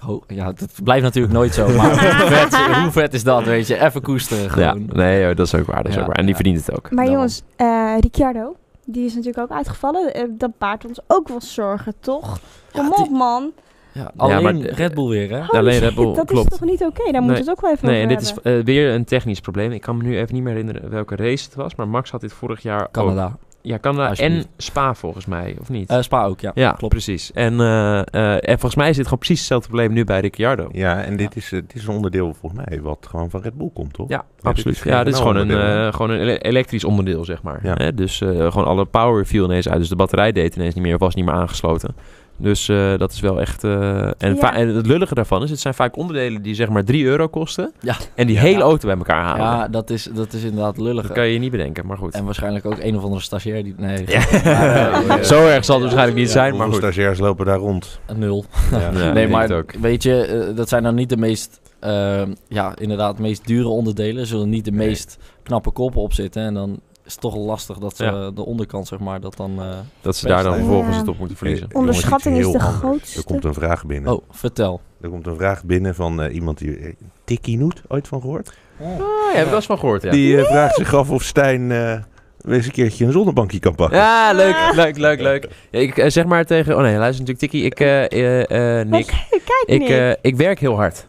Ho- ja, dat blijft natuurlijk nooit zo. Maar hoe vet, hoe vet is dat, weet je? Even koesteren Ja, gewoon. nee, eh, dat is ook waar. Dat is Ja, ook waar. En die ja. verdient het ook. Maar Daarom. jongens, eh, Ricciardo, die is natuurlijk ook uitgevallen. Eh, dat baart ons ook wel zorgen, toch? Kom Ja, op, die- man. ja, alleen maar, eh, Red Bull weer, hè? Holy alleen Red shit, Bull, dat klopt. is toch niet oké? Daar Nee. moeten we het ook wel even Nee, en over dit is hebben. eh, weer een technisch probleem. Ik kan me nu even niet meer herinneren welke race het was. Maar Max had dit vorig jaar. ook. Canada. Ja, Canada en Alsjeblieft. Spa volgens mij, of niet? Eh, Spa ook, ja. ja, klopt. precies. En, eh, eh, en volgens mij is dit gewoon precies hetzelfde probleem nu bij Ricciardo. Ja, en dit is, eh, dit is een onderdeel volgens mij wat gewoon van Red Bull komt, toch? Ja, dit absoluut. is geen ja, dit is gewoon een, knalonderdeel, hè? eh, gewoon een ele- elektrisch onderdeel, zeg maar. Ja. Hè? Dus eh, gewoon alle power viel ineens uit. Dus de batterij deed ineens niet meer of was niet meer aangesloten. Dus eh, dat is wel echt... eh, en, Ja. va- en het lullige daarvan is, het zijn vaak onderdelen die zeg maar 3 euro kosten. Ja. En die Ja. hele auto bij elkaar halen. Ja, dat is, dat is inderdaad lullig. Dat kan je niet bedenken, maar goed. En waarschijnlijk ook een of andere stagiair die... Nee, Ja. Maar, eh, Zo erg zal het waarschijnlijk niet zijn, maar Hoeveel goed. stagiairs lopen daar rond? een nul. Ja. Ja, nee, ik maar denk het ook. weet je, eh, dat zijn nou niet de meest, eh, ja, inderdaad, meest dure onderdelen. Zullen niet de Nee. meest knappe koppen op zitten. En dan is het toch lastig dat ze Ja. de onderkant, zeg maar, dat dan... eh, Dat ze daar dan Ja. vervolgens het op moeten verliezen. Eh, Onderschatting jongens, is iets de heel anders. Er grootste. komt een vraag binnen. Oh, vertel. Er komt een vraag binnen van eh, iemand die... eh, Tikkie Noet, ooit van gehoord? Oh, Ah, ja, heb ik wel eens van gehoord, ja. Die eh, vraagt zich af of Stijn eh, weer eens een keertje een zonnebankje kan pakken. Ja, leuk, leuk, leuk, leuk. Ja, ik eh, zeg maar tegen... Oh nee, luister natuurlijk, Tikkie. Ik, eh, eh, eh, Nick, Kijk, ik, Nick. eh, ik werk heel hard.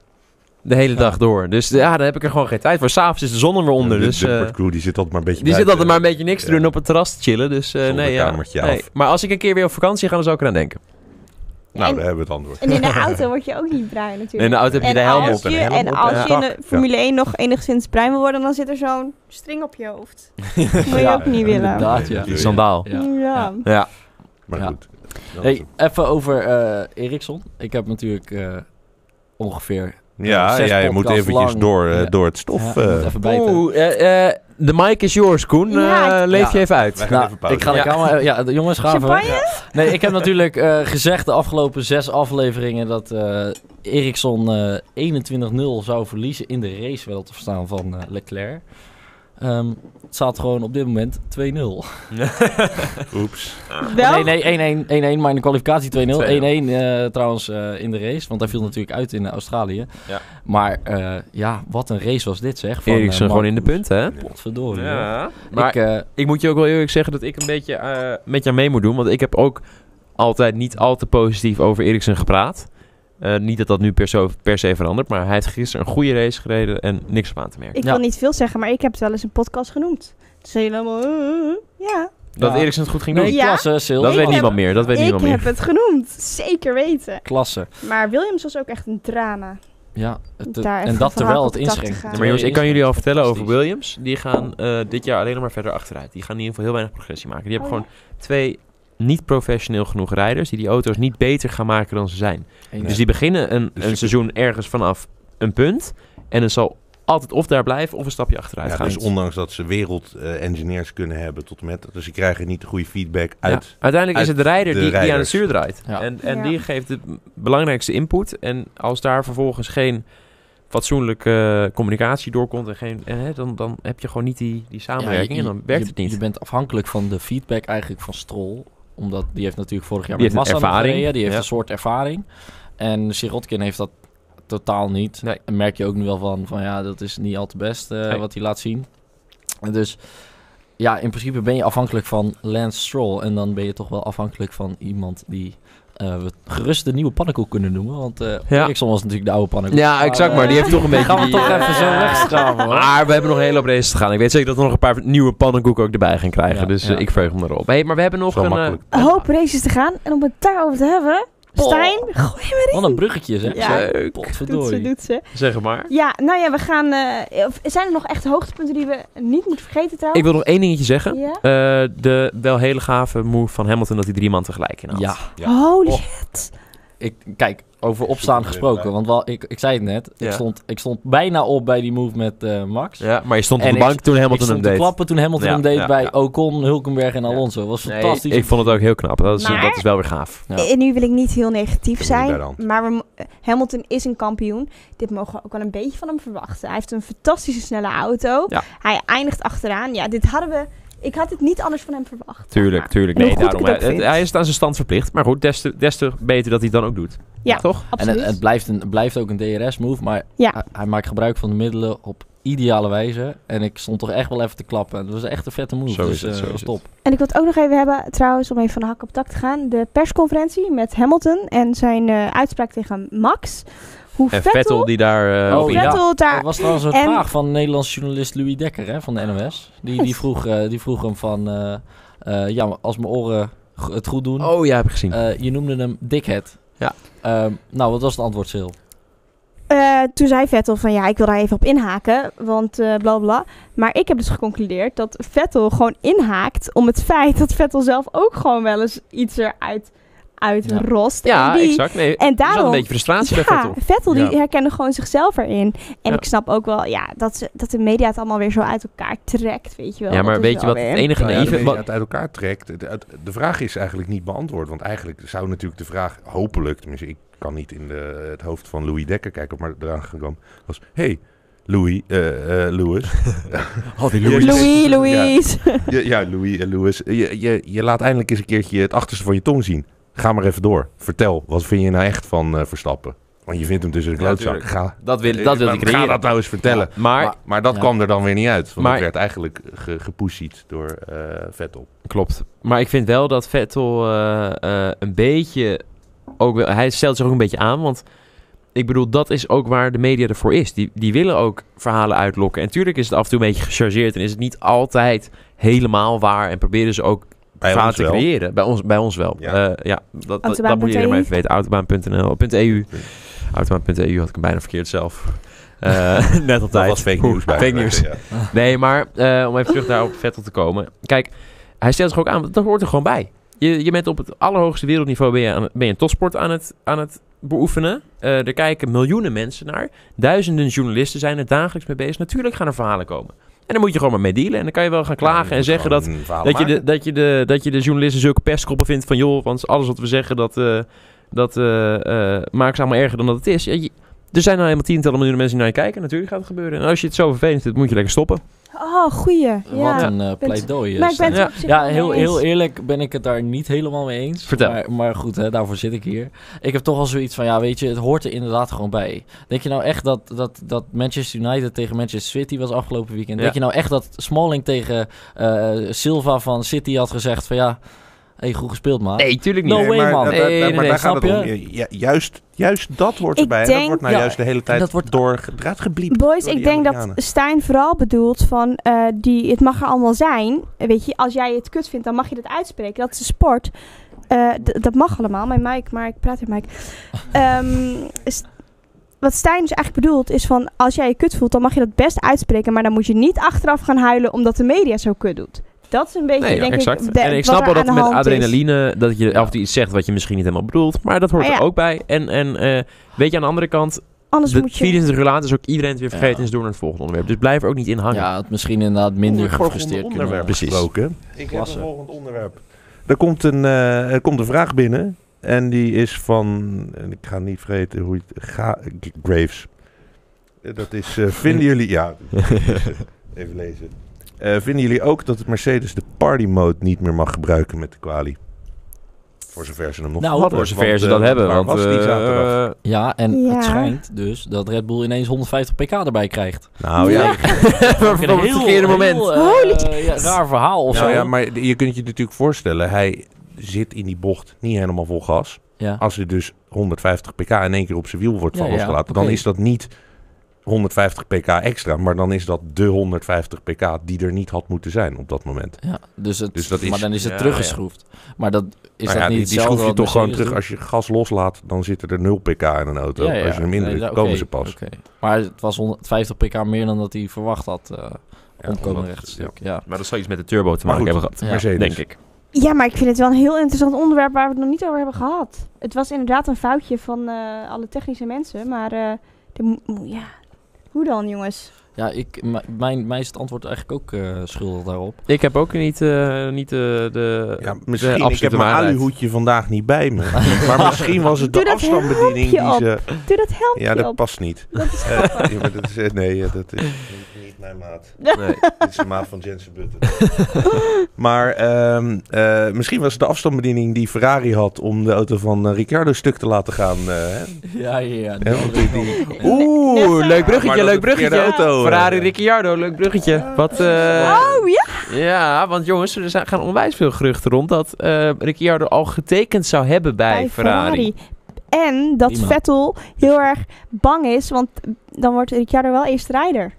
De hele dag door. Dus ja, dan heb ik er gewoon geen tijd voor. S'avonds is de zon er weer onder. De- Dus, de, eh, Bert Crew, die zit altijd maar een beetje die zit buiten. altijd maar een beetje eh, niks te Ja. doen op het terras te chillen. Dus eh, nee, ja. Zolderkamertje Nee. af. Maar als ik een keer weer op vakantie ga, dan zou ik eraan denken. Nou, en- daar hebben we het antwoord. En in de auto word je ook niet bruin En natuurlijk. de auto heb je en de helm als op. en je, een helm en op en als een je in pak. de Formule 1 nog enigszins bruin wil worden, dan zit er zo'n string op je hoofd. Dat moet je Ja, ook niet willen. Inderdaad, ja. Die sandaal. Ja. Ja. Ja. Maar Ja. goed. Dat is Hey, het. even over eh Ericsson. Ik heb natuurlijk eh, ongeveer... Ja, zes ja, je moet podcasts eventjes lang. door, eh, Ja. door het stof. Ja, eh. moet even bijten. Oeh, eh, eh, de mic is yours, Koen. Ja, Eh, ik- leef je Ja. even uit. Wij gaan Nou, even pauze. ik ga de Ja. camera... Ja, de jongens, gaan we. Champagne? Nee, ik heb natuurlijk eh, gezegd de afgelopen zes afleveringen dat eh Ericsson eh 21-0 zou verliezen in de race wel te verstaan van eh, Leclerc. Ehm, het staat gewoon op dit moment 2-0. Oeps. Wel? Nee, nee, 1-1, 1-1, maar in de kwalificatie 2-0. 1-1 eh, trouwens eh, in de race, want hij viel natuurlijk uit in eh, Australië. Ja. Maar eh, ja, wat een race was dit zeg. Van, Eriksen eh, gewoon in de Magnus. punten, hè? Potverdorie. hoor. Maar ik, eh, ik moet je ook wel eerlijk zeggen dat ik een beetje eh, met jou mee moet doen. Want ik heb ook altijd niet al te positief over Eriksen gepraat. Eh, niet dat dat nu per, zo, per se verandert. Maar hij heeft gisteren een goede race gereden en niks op aan te merken. Ik Ja. wil niet veel zeggen, maar ik heb het wel eens een podcast genoemd. Toen zei je allemaal... eh, eh, ja. Dat ja. Eriksen het goed ging doen. nee, Ja. klasse, Sil. dat ik weet heb- niemand meer. Dat weet Ik niemand meer. heb het genoemd. Zeker weten. Klasse. Maar Williams was ook echt een drama. Ja, het- Daar en even dat van terwijl het hak op de tak te inschenkt. gaan. Ja, maar jongens, ik kan jullie al vertellen over Fantastisch. Williams. Die gaan eh, dit jaar alleen nog maar verder achteruit. Die gaan in ieder geval heel weinig progressie maken. Die hebben Oh, gewoon twee niet professioneel genoeg rijders... die die auto's niet beter gaan maken dan ze zijn. Eens. Dus die beginnen een, Dus een je- seizoen ergens vanaf een punt. En het zal altijd of daar blijven of een stapje achteruit Ja, gaan. dus ondanks dat ze wereldengineers kunnen hebben tot en met... Dus ze krijgen niet de goede feedback Ja, uit... Uiteindelijk is uit het de rijder de die, die aan het rijders. stuur draait. Ja. En, en Ja. die geeft de belangrijkste input. En als daar vervolgens geen fatsoenlijke eh, communicatie doorkomt... En geen, en, hè, dan, dan heb je gewoon niet die, die samenwerking Ja, je- en dan werkt je- het niet. Je bent afhankelijk van de feedback eigenlijk van Strol. Omdat die heeft natuurlijk vorig jaar Die met heeft Massa een nog ervaring, gereden, Die heeft ja. een soort ervaring. En Sirotkin heeft dat totaal niet. Nee. En merk je ook nu wel van, van ja, dat is niet al te best eh, Nee. wat hij laat zien. En Dus ja, in principe ben je afhankelijk van Lance Stroll. En dan ben je toch wel afhankelijk van iemand die... eh, we gerust de nieuwe pannenkoek kunnen noemen. Want eh Ja. Eriksson was natuurlijk de oude pannenkoek. ja, exact maar. Die heeft toch een beetje... eh, Gaan we die, toch eh, even zo wegschrapen, hoor. Maar we hebben nog een hele hoop races te gaan. Ik weet zeker dat we nog een paar nieuwe pannenkoeken ook erbij gaan krijgen. Ja, dus eh, ja. ik verheug me erop. Hey, maar we hebben nog Zo een... eh, makkelijk. Een hoop races te gaan. En om het daarover te hebben... Oh, Poh. Stijn, gooi me Wat een bruggetje, zeg. Ja. Leuk. Doet ze, Potverdorie. doet ze. Zeg maar. Ja, nou ja, we gaan... eh, of- zijn er nog echt hoogtepunten die we niet moeten vergeten trouwens? Ik wil nog één dingetje zeggen. Ja? Eh, de wel hele gave move van Hamilton dat hij drie man tegelijk inhaalt. Ja. Ja. Holy Oh. shit. Ik, kijk, over opstaan Zoek het gesproken. even Want wel, ik, ik zei het net. Ja. Ik, stond, ik stond bijna op bij die move met eh, Max. Ja, maar je stond op En de ik- bank toen ik Hamilton hem stond te deed. klappen toen Hamilton Ja, hem deed ja, bij ja. Ocon, Hulkenberg en Ja. Alonso. Dat was Nee, fantastisch. ik vond het ook heel knap. Dat is, Maar- dat is wel weer gaaf. Ja. En nu wil ik niet heel negatief heb hem bij zijn, de hand. maar we mo- eh, Hamilton is een kampioen. Dit mogen we ook wel een beetje van hem verwachten. Hij heeft een fantastische snelle auto. Ja. Hij eindigt achteraan. Ja, dit hadden we... Ik had dit niet anders van hem verwacht. Tuurlijk, tuurlijk. En hoe Nee, goed ik daarom, het hij, ook vind. hij is aan zijn stand verplicht. Maar goed, des te, des te beter dat hij het dan ook doet. Ja. Toch? en Absoluut. het, het blijft, een, het blijft ook een DRS-move. Maar Ja. hij, hij maakt gebruik van de middelen op ideale wijze. En ik stond toch echt wel even te klappen. En dat was echt een vette move. Zo dus, is het, eh, zo was is top. En ik wil het ook nog even hebben, trouwens, om even van de hak op tak te gaan. De persconferentie met Hamilton en zijn eh, uitspraak tegen Max. hoe En Vettel, Vettel die daar... eh, Oh, op hoe ja. inhaakt. Vettel daar... Dat was trouwens een En- vraag van Nederlands journalist Louis Dekker hè, van de NOS. Die, die, vroeg, eh, die vroeg hem van, eh, eh, ja, maar als mijn oren g- het goed doen. Oh ja, heb ik gezien. Eh, je noemde hem Dickhead. Ja. Ehm, nou, wat was het antwoord, Sil? Eh, toen zei Vettel van ja, ik wil daar even op inhaken, want eh, bla bla. Maar ik heb dus geconcludeerd dat Vettel gewoon inhaakt om het feit dat Vettel zelf ook gewoon wel eens iets eruit Ja. uitrost. ja, en die- exact. Nee, en Er zat daarom- een beetje frustratie ja, bij Vettel. die Ja. herkende gewoon zichzelf erin. En Ja. ik snap ook wel ja, dat, ze, dat de media het allemaal weer zo uit elkaar trekt, weet je wel. Ja, maar Dat is weet je wel wat het weer- enige Nou ja, de naïeve... beetje wat- het uit elkaar trekt. Het- het- De vraag is eigenlijk niet beantwoord. Want eigenlijk zou natuurlijk de vraag, hopelijk, tenminste, ik kan niet in de, het hoofd van Louis Dekker kijken, maar eraan gekomen was: hey, Louis, eh, eh, Louis. Oh, die Louis. Louis, Ja. Louis. Je- ja, Louis, eh, Louis. Je, je, je laat eindelijk eens een keertje het achterste van je tong zien. Ga maar even door. Vertel, wat vind je nou echt van eh, Verstappen? Want je vindt hem tussen de Ja, klootzak. tuurlijk. ga, Dat wil, dat wil eh, ik ga dat creëren. nou eens vertellen. Maar, Maar, maar dat Ja. kwam er dan weer niet uit. Want Maar- het werd eigenlijk ge, gepushied door eh Vettel. klopt. Maar ik vind wel dat Vettel eh, eh, een beetje... Ook wel, hij stelt zich ook een beetje aan, want... Ik bedoel, dat is ook waar de media ervoor is. Die, die willen ook verhalen uitlokken. En tuurlijk is het af en toe een beetje gechargeerd. En is het niet altijd helemaal waar. En proberen ze ook Bij verhalen ons te wel. creëren. Bij ons, bij ons wel. Ja. Eh, ja dat, dat, dat moet Autobaan.eu. iedereen maar even weten. Autobaan.nl.eu. Autobaan.eu E had ik hem bijna verkeerd zelf. Eh, net op Dat tijd. was fake Oeh, news. bij Fake de news. mensen, ja. Nee, maar eh, om even terug daar op Vettel te komen. Kijk, hij stelt zich ook aan, want dat hoort er gewoon bij. Je, je bent op het allerhoogste wereldniveau ben je, aan, ben je een topsport aan het, aan het beoefenen. Eh er kijken miljoenen mensen naar. Duizenden journalisten zijn er dagelijks mee bezig. Natuurlijk gaan er verhalen komen. En dan moet je gewoon maar mee dealen. En dan kan je wel gaan klagen en zeggen dat Gewoon verhalen dat je, de, maken. dat, je de, dat je de journalisten zulke pestkoppen vindt van... joh, want alles wat we zeggen, dat, eh dat eh, eh, maakt ze allemaal erger dan dat het is. Ja, je- er zijn nou helemaal tientallen miljoenen mensen die naar je kijken. Natuurlijk gaat het gebeuren. En als je het zo vervelend vindt, moet je lekker stoppen. Oh, goeie. Ja. Wat een eh, pleidooi. eh, maar ik ben Stijn. het Ja. op zich Ja, wel heel, mee heel eens. eerlijk ben ik het daar niet helemaal mee eens. Vertel. Maar, maar goed, hè, daarvoor zit ik hier. Ik heb toch al zoiets van, ja, weet je, het hoort er inderdaad gewoon bij. Denk je nou echt dat, dat, dat Manchester United tegen Manchester City was afgelopen weekend? Ja. Denk je nou echt dat Smalling tegen eh, Silva van City had gezegd van, ja, hé, goed gespeeld, maat. Nee, tuurlijk niet. No way, maar, man. daar- Nee, daar- nee, maar nee, daar snap gaat het om. je? Je- ja, juist, juist dat wordt Ik erbij. en dat denk- wordt nou Ja, juist de hele tijd dat wordt- door gedraad gebliept. Boys, door ik die denk dat Amerikanen. Stijn vooral bedoelt van eh, die, het mag er allemaal zijn. Weet je, als jij het kut vindt, dan mag je dat uitspreken. Dat is een sport. Eh, d- dat mag allemaal. Mijn mic, maar ik praat in Mike. wat Stijn dus eigenlijk bedoelt is van als jij je kut voelt, dan mag je dat best uitspreken. Maar dan moet je niet achteraf gaan huilen omdat de media zo kut doet. Dat is een beetje, Nee, ja, denk exact. ik, de- en ik wat snap er wel dat aan de met hand is. adrenaline... dat je af en toe iets zegt wat je misschien niet helemaal bedoelt. Maar dat hoort Maar ja. er ook bij. En, en eh, weet je, aan de andere kant... Anders de moet je... 24 uur later is dus ook iedereen het weer vergeten... Ja. en is door naar het volgende onderwerp. Dus blijf er ook niet in hangen. Ja, het misschien inderdaad minder Over het gefrustreerd volgende kunnen onderwerp Precies. gesproken. Ik heb Klasse. een volgend onderwerp. Er komt een, eh, er komt een vraag binnen. En die is van... en Ik ga niet vergeten hoe je het... Ga, G- Graves. Eh, Dat is... eh, vinden jullie... Ja. Even lezen. Eh, vinden jullie ook dat het Mercedes de party mode niet meer mag gebruiken met de quali? Voor zover ze hem nog Nou, hadden. Voor zover Want, ze eh, dat hebben. waar Want, was die eh, zaterdag? Ja, en Ja. het schijnt dus dat Red Bull ineens 150 pk erbij krijgt. Nou ja, op het verkeerde moment. heel, eh, ja, raar verhaal of Nou zo. ja, maar je kunt je natuurlijk voorstellen, hij zit in die bocht niet helemaal vol gas. Ja. Als er dus 150 pk in één keer op zijn wiel wordt Ja, van ja, losgelaten, dan oké. is dat niet 150 pk extra, maar dan is dat de 150 pk die er niet had moeten zijn op dat moment. Ja, dus het, Dus dat is- maar dan is het Ja, teruggeschroefd. Maar dat is Nou dat ja, niet die, die schroef je hetzelfde toch wat gewoon Mercedes terug. Als je gas loslaat, dan zitten er 0 pk in een auto. doet? Ja, ja, Als je hem nee, indrukt, ja, oké, komen ze pas. oké. Maar het was 150 pk meer dan dat hij verwacht had. eh Ja, omkomen omdat- rechtstuk. Ja. Maar dat zal iets met de turbo te Maar maken goed, hebben gehad. Ja. Mercedes. Denk ik. Ja, maar ik vind het wel een heel interessant onderwerp waar we het nog niet over hebben gehad. Het was inderdaad een foutje van eh, alle technische mensen, maar eh, de mo- mo- ja. hoe dan jongens? Ja, ik, m- mijn, mij is het antwoord eigenlijk ook eh, schuldig daarop. Ik heb ook niet, eh, niet eh, de... Ja, de misschien, ik heb absolute mijn waarheid. aluhoedje vandaag niet bij me. maar misschien was het Doe de dat afstandsbediening helmpje die ze... Doe dat helpt Ja, je dat op. past niet. Dat is Eh, ja, maar dat is, eh, nee, eh, dat is niet- niet mijn maat. Nee. Dit is de maat van Jensen Button. maar ehm, eh, misschien was het de afstandsbediening die Ferrari had om de auto van eh, Ricciardo stuk te laten gaan. eh, hè? Ja, ja, ja. Hè, want die- die- Oeh, leuk Maar bruggetje, dat leuk het verkeerde bruggetje. auto, eh. Ferrari Ricciardo, leuk bruggetje. Wat, eh, Oh ja, Ja, want jongens, er zijn- gaan onwijs veel geruchten rond dat eh, Ricciardo al getekend zou hebben bij, Ferrari. En dat Prima. Vettel heel erg bang is, want dan wordt Ricciardo wel eerste rijder.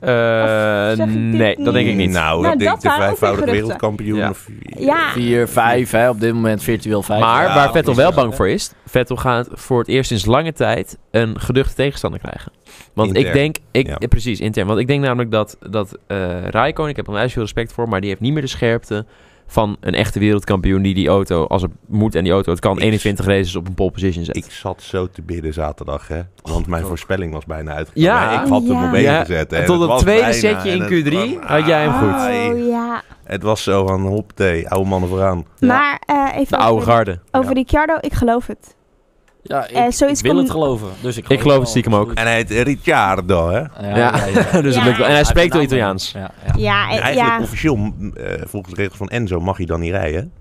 Eh, Of zeg ik dit nee, dat denk ik niet? niet. Nou, Nou, ik denk dat de waren ook vijfvoudig weer wereldkampioen. Ja. Of, Ja. 4, 5, hè, op dit moment virtueel 5. Maar Ja, waar Vettel dat is wel waar, bang hè. voor is, Vettel gaat voor het eerst sinds lange tijd een geduchte tegenstander krijgen. Want ik Intern. denk, ik, Ja. eh, precies, intern. Want ik denk namelijk dat, dat eh Raikkonen, ik heb er onwijs veel respect voor, maar die heeft niet meer de scherpte van een echte wereldkampioen die die auto, als het moet en die auto het kan, Ik- 21 races op een pole position zet. Ik zat zo te bidden zaterdag, hè. Want mijn voorspelling was bijna uitgekomen. Ja. Ik had hem Oh, Ja. op één Ja, gezet. en hè. tot Het het was tweede bijna setje in en het Q3 kwam- had jij hem Ah, goed. nee. Oh, ja. Het was zo van, hop, thee, oude mannen vooraan. Maar eh, even De oude over, garde. over Ja. Ricciardo, ik geloof het. Ja, ik, Eh, ik zoiets wil kon- het geloven. Dus ik, geloof het wel, stiekem ook. absoluut. En hij heet Ricciardo, Eh, hè. Ja, Ja. ja, ja. dus dat Ja. lukt wel. En hij spreekt wel naam. Italiaans. Ja, ja. Ja, eh, Eigenlijk ja. officieel, m, eh, volgens de regels van Enzo, mag hij dan niet rijden.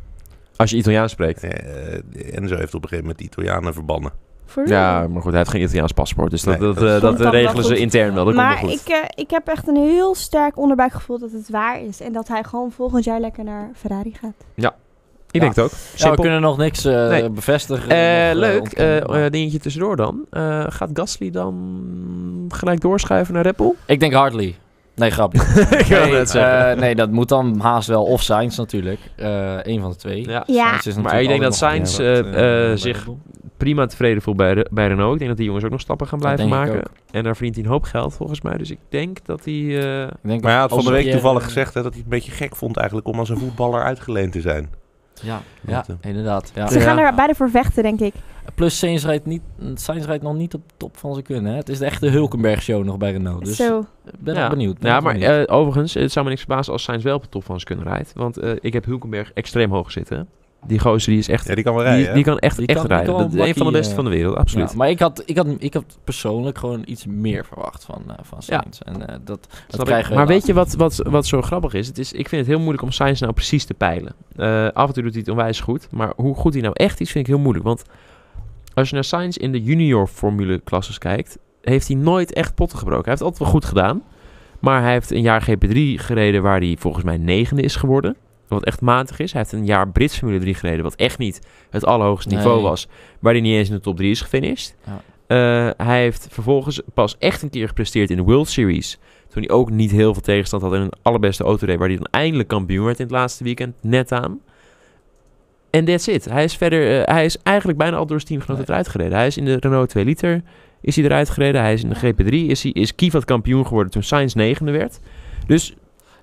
Als je Italiaans spreekt. Eh, Enzo heeft op een gegeven moment de Italianen verbannen. For real. Mm. Ja, maar goed, hij heeft geen Italiaans paspoort. Dus dat, Nee, dat, dat is- eh, dat Komt dan wel regelen ze goed. intern wel. Dat komt wel maar goed. ik, eh, ik heb echt een heel sterk onderbuikgevoel dat het waar is. En dat hij gewoon volgend jaar lekker naar Ferrari gaat. Ik denk het ook. Ja, we Simpel. kunnen nog niks eh, Nee. bevestigen. Eh, nog, eh, leuk, ontkennen. Eh, eh, dingetje tussendoor dan. Eh, gaat Gasly dan gelijk doorschuiven naar Red Bull? ik denk Hartley. Nee, grap. Ik nee, wou net zeggen. eh, nee, dat moet dan haast wel of Sainz natuurlijk. Eén van de twee. Ja. Ja, Sainz is Maar natuurlijk ik denk dat altijd nog- Sainz Ja, eh, wat, eh, eh, bij zich Red Bull. prima tevreden voelt bij, Re- bij Renault. Ik denk dat die jongens ook nog stappen gaan Dat blijven denk ik maken. ook. En daar verdient hij een hoop geld volgens mij. Dus ik denk dat hij... eh, Ik denk Maar hij had als van de week Pierre- toevallig gezegd hè, dat hij het een beetje gek vond eigenlijk om als een voetballer uitgeleend te zijn. Ja, ja Want, inderdaad. Ja. ze Ja. Oh, gaan er beide voor vechten, denk ik. Plus Sainz rijdt, niet, Sainz rijdt nog niet op top van zijn kunnen. Hè? Het is de echte Hulkenberg-show nog bij Renault. Dus Zo. ik ben ja. wel benieuwd. ben ja, echt maar benieuwd. eh, overigens, het zou me niks verbazen als Sainz wel op de top van zijn kunnen rijdt. Want eh, ik heb Hulkenberg extreem hoog zitten. Die gozer die is echt... Ja, die kan wel die, rijden. die kan echt, Die echt kan- die rijden. kan Dat is een van de bakkie, beste eh, van de wereld, absoluut. Ja, maar ik had, ik, had, ik had persoonlijk gewoon iets meer verwacht van, eh, van Sainz. En eh, dat, dat Snap ik. krijgen we Maar later. weet je wat, wat, wat zo grappig is? Het is? Ik vind het heel moeilijk om Sainz nou precies te peilen. Eh, af en toe doet hij het onwijs goed. Maar hoe goed hij nou echt is, vind ik heel moeilijk. Want als je naar Sainz in de junior formule klasses kijkt... heeft hij nooit echt potten gebroken. Hij heeft altijd wel goed gedaan. Maar hij heeft een jaar GP3 gereden waar hij volgens mij negende is geworden. Wat echt matig is. Hij heeft een jaar Brits Formule 3 gereden. Wat echt niet het allerhoogste niveau Nee. was. Waar hij niet eens in de top 3 is gefinished. Ja. Eh, hij heeft vervolgens pas echt een keer gepresteerd in de World Series. Toen hij ook niet heel veel tegenstand had en een allerbeste auto reed. Waar hij dan eindelijk kampioen werd in het laatste weekend. Net aan. En that's it. Hij is verder... eh, hij is eigenlijk bijna al door zijn teamgenoten Nee. eruit gereden. Hij is in de Renault 2 liter is hij eruit gereden. Hij is in de GP3. Is, hij, is Kivat kampioen geworden toen Sainz negende werd. Dus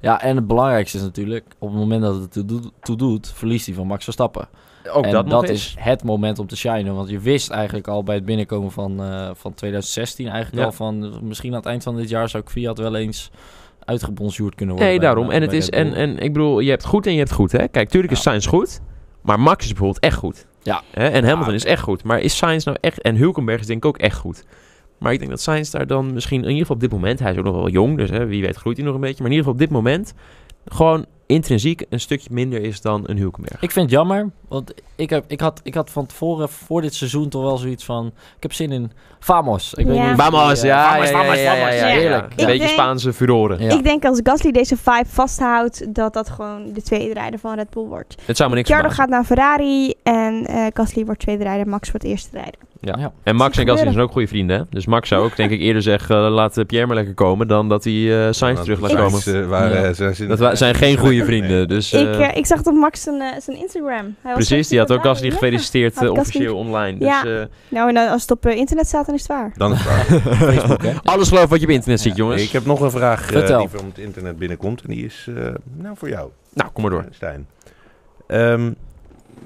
Ja, en het belangrijkste is natuurlijk, op het moment dat het toe doet, toe doet verliest hij van Max Verstappen. ook en dat, nog eens. is het moment om te shinen. Want je wist eigenlijk al bij het binnenkomen van, eh, van 2016 eigenlijk Ja. al van... eh, Misschien aan het eind van dit jaar zou ik Fiat wel eens uitgebonsjoerd kunnen worden. Nee, bij- daarom. bij- En, het bij is, Red Bull. en, en ik bedoel, je hebt goed en je hebt goed. Hè? Kijk, tuurlijk is Ja. Sainz goed. Maar Max is bijvoorbeeld echt goed. Ja. Hè? En Hamilton Ja. is echt goed. Maar is Sainz nou echt... En Hulkenberg is denk ik ook echt goed. Maar ik denk dat Sainz daar dan misschien... In ieder geval op dit moment... Hij is ook nog wel jong. Dus hè, wie weet groeit hij nog een beetje. Maar in ieder geval op dit moment... Gewoon intrinsiek een stukje minder is dan een Hulkenberg. Ik vind het jammer, want ik, heb, ik, had, ik had van tevoren voor dit seizoen toch wel zoiets van... Ik heb zin in Famos. Ik weet Ja. niet of Vamos, die, eh, ja, Famos, ja, ja, Famos, ja, ja, Famos. ja, Ja. heerlijk. Ik Een beetje denk- Spaanse furoren. Ja. Ik denk als Gasly deze vibe vasthoudt, dat dat gewoon de tweede rijder van Red Bull wordt. Het zou me niks Ricciardo verbazen. gaat naar Ferrari en eh Gasly wordt tweede rijder, Max wordt eerste rijder. Ja. En Ja. Max en Gebeuren. Gasly zijn ook goede vrienden. Hè? Dus Max zou ook denk ik eerder zeggen... eh, laat Pierre maar lekker komen... dan dat hij eh Sainz terug laat komen. Ze waren, Ja. eh, ze zijn- Dat wa- zijn geen goede vrienden. Nee. Dus, ik, eh, eh, ik zag op Max zijn, eh, zijn Instagram. Hij was precies, die had ook blij. Gasly Ja. gefeliciteerd had eh, Gasly- officieel online. Dus, Ja. eh, Nou, en dan, als het op eh, internet staat, dan is het waar. Dan is het waar. Facebook, hè? alles geloof wat je op internet ziet, jongens. Ik heb nog een vraag eh, Vertel. die van het internet binnenkomt. En die is eh, nou voor jou, Eh, Nou, kom maar door. Stijn. Ehm,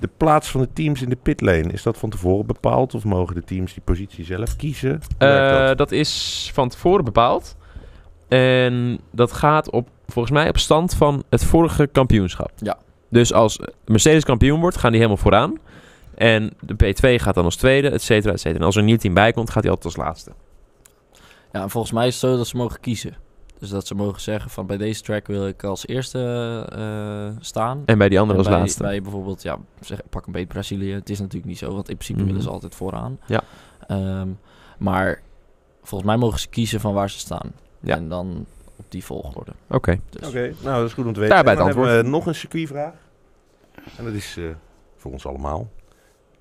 de plaats van de teams in de pitlane, is dat van tevoren bepaald? Of mogen de teams die positie zelf kiezen? Hoe werkt Eh, dat? dat is van tevoren bepaald. En dat gaat op, volgens mij op stand van het vorige kampioenschap. Ja. Dus als Mercedes kampioen wordt, gaan die helemaal vooraan. En de P2 gaat dan als tweede, et cetera, et cetera. En als er een nieuw team bij komt, gaat hij altijd als laatste. Ja, en volgens mij is het zo dat ze mogen kiezen. Dus dat ze mogen zeggen van bij deze track wil ik als eerste eh, staan. En bij die andere En als bij, laatste. bij bijvoorbeeld, ja, zeg, pak een beet Brazilië. Het is natuurlijk niet zo, want in principe Mhm. willen ze altijd vooraan. Ja. Ehm, maar volgens mij mogen ze kiezen van waar ze staan. Ja. En dan op die volgorde. Oké. Dus. Oké, nou dat is goed om te weten. Daarbij En dan het hebben we nog een circuitvraag. En dat is eh, voor ons allemaal.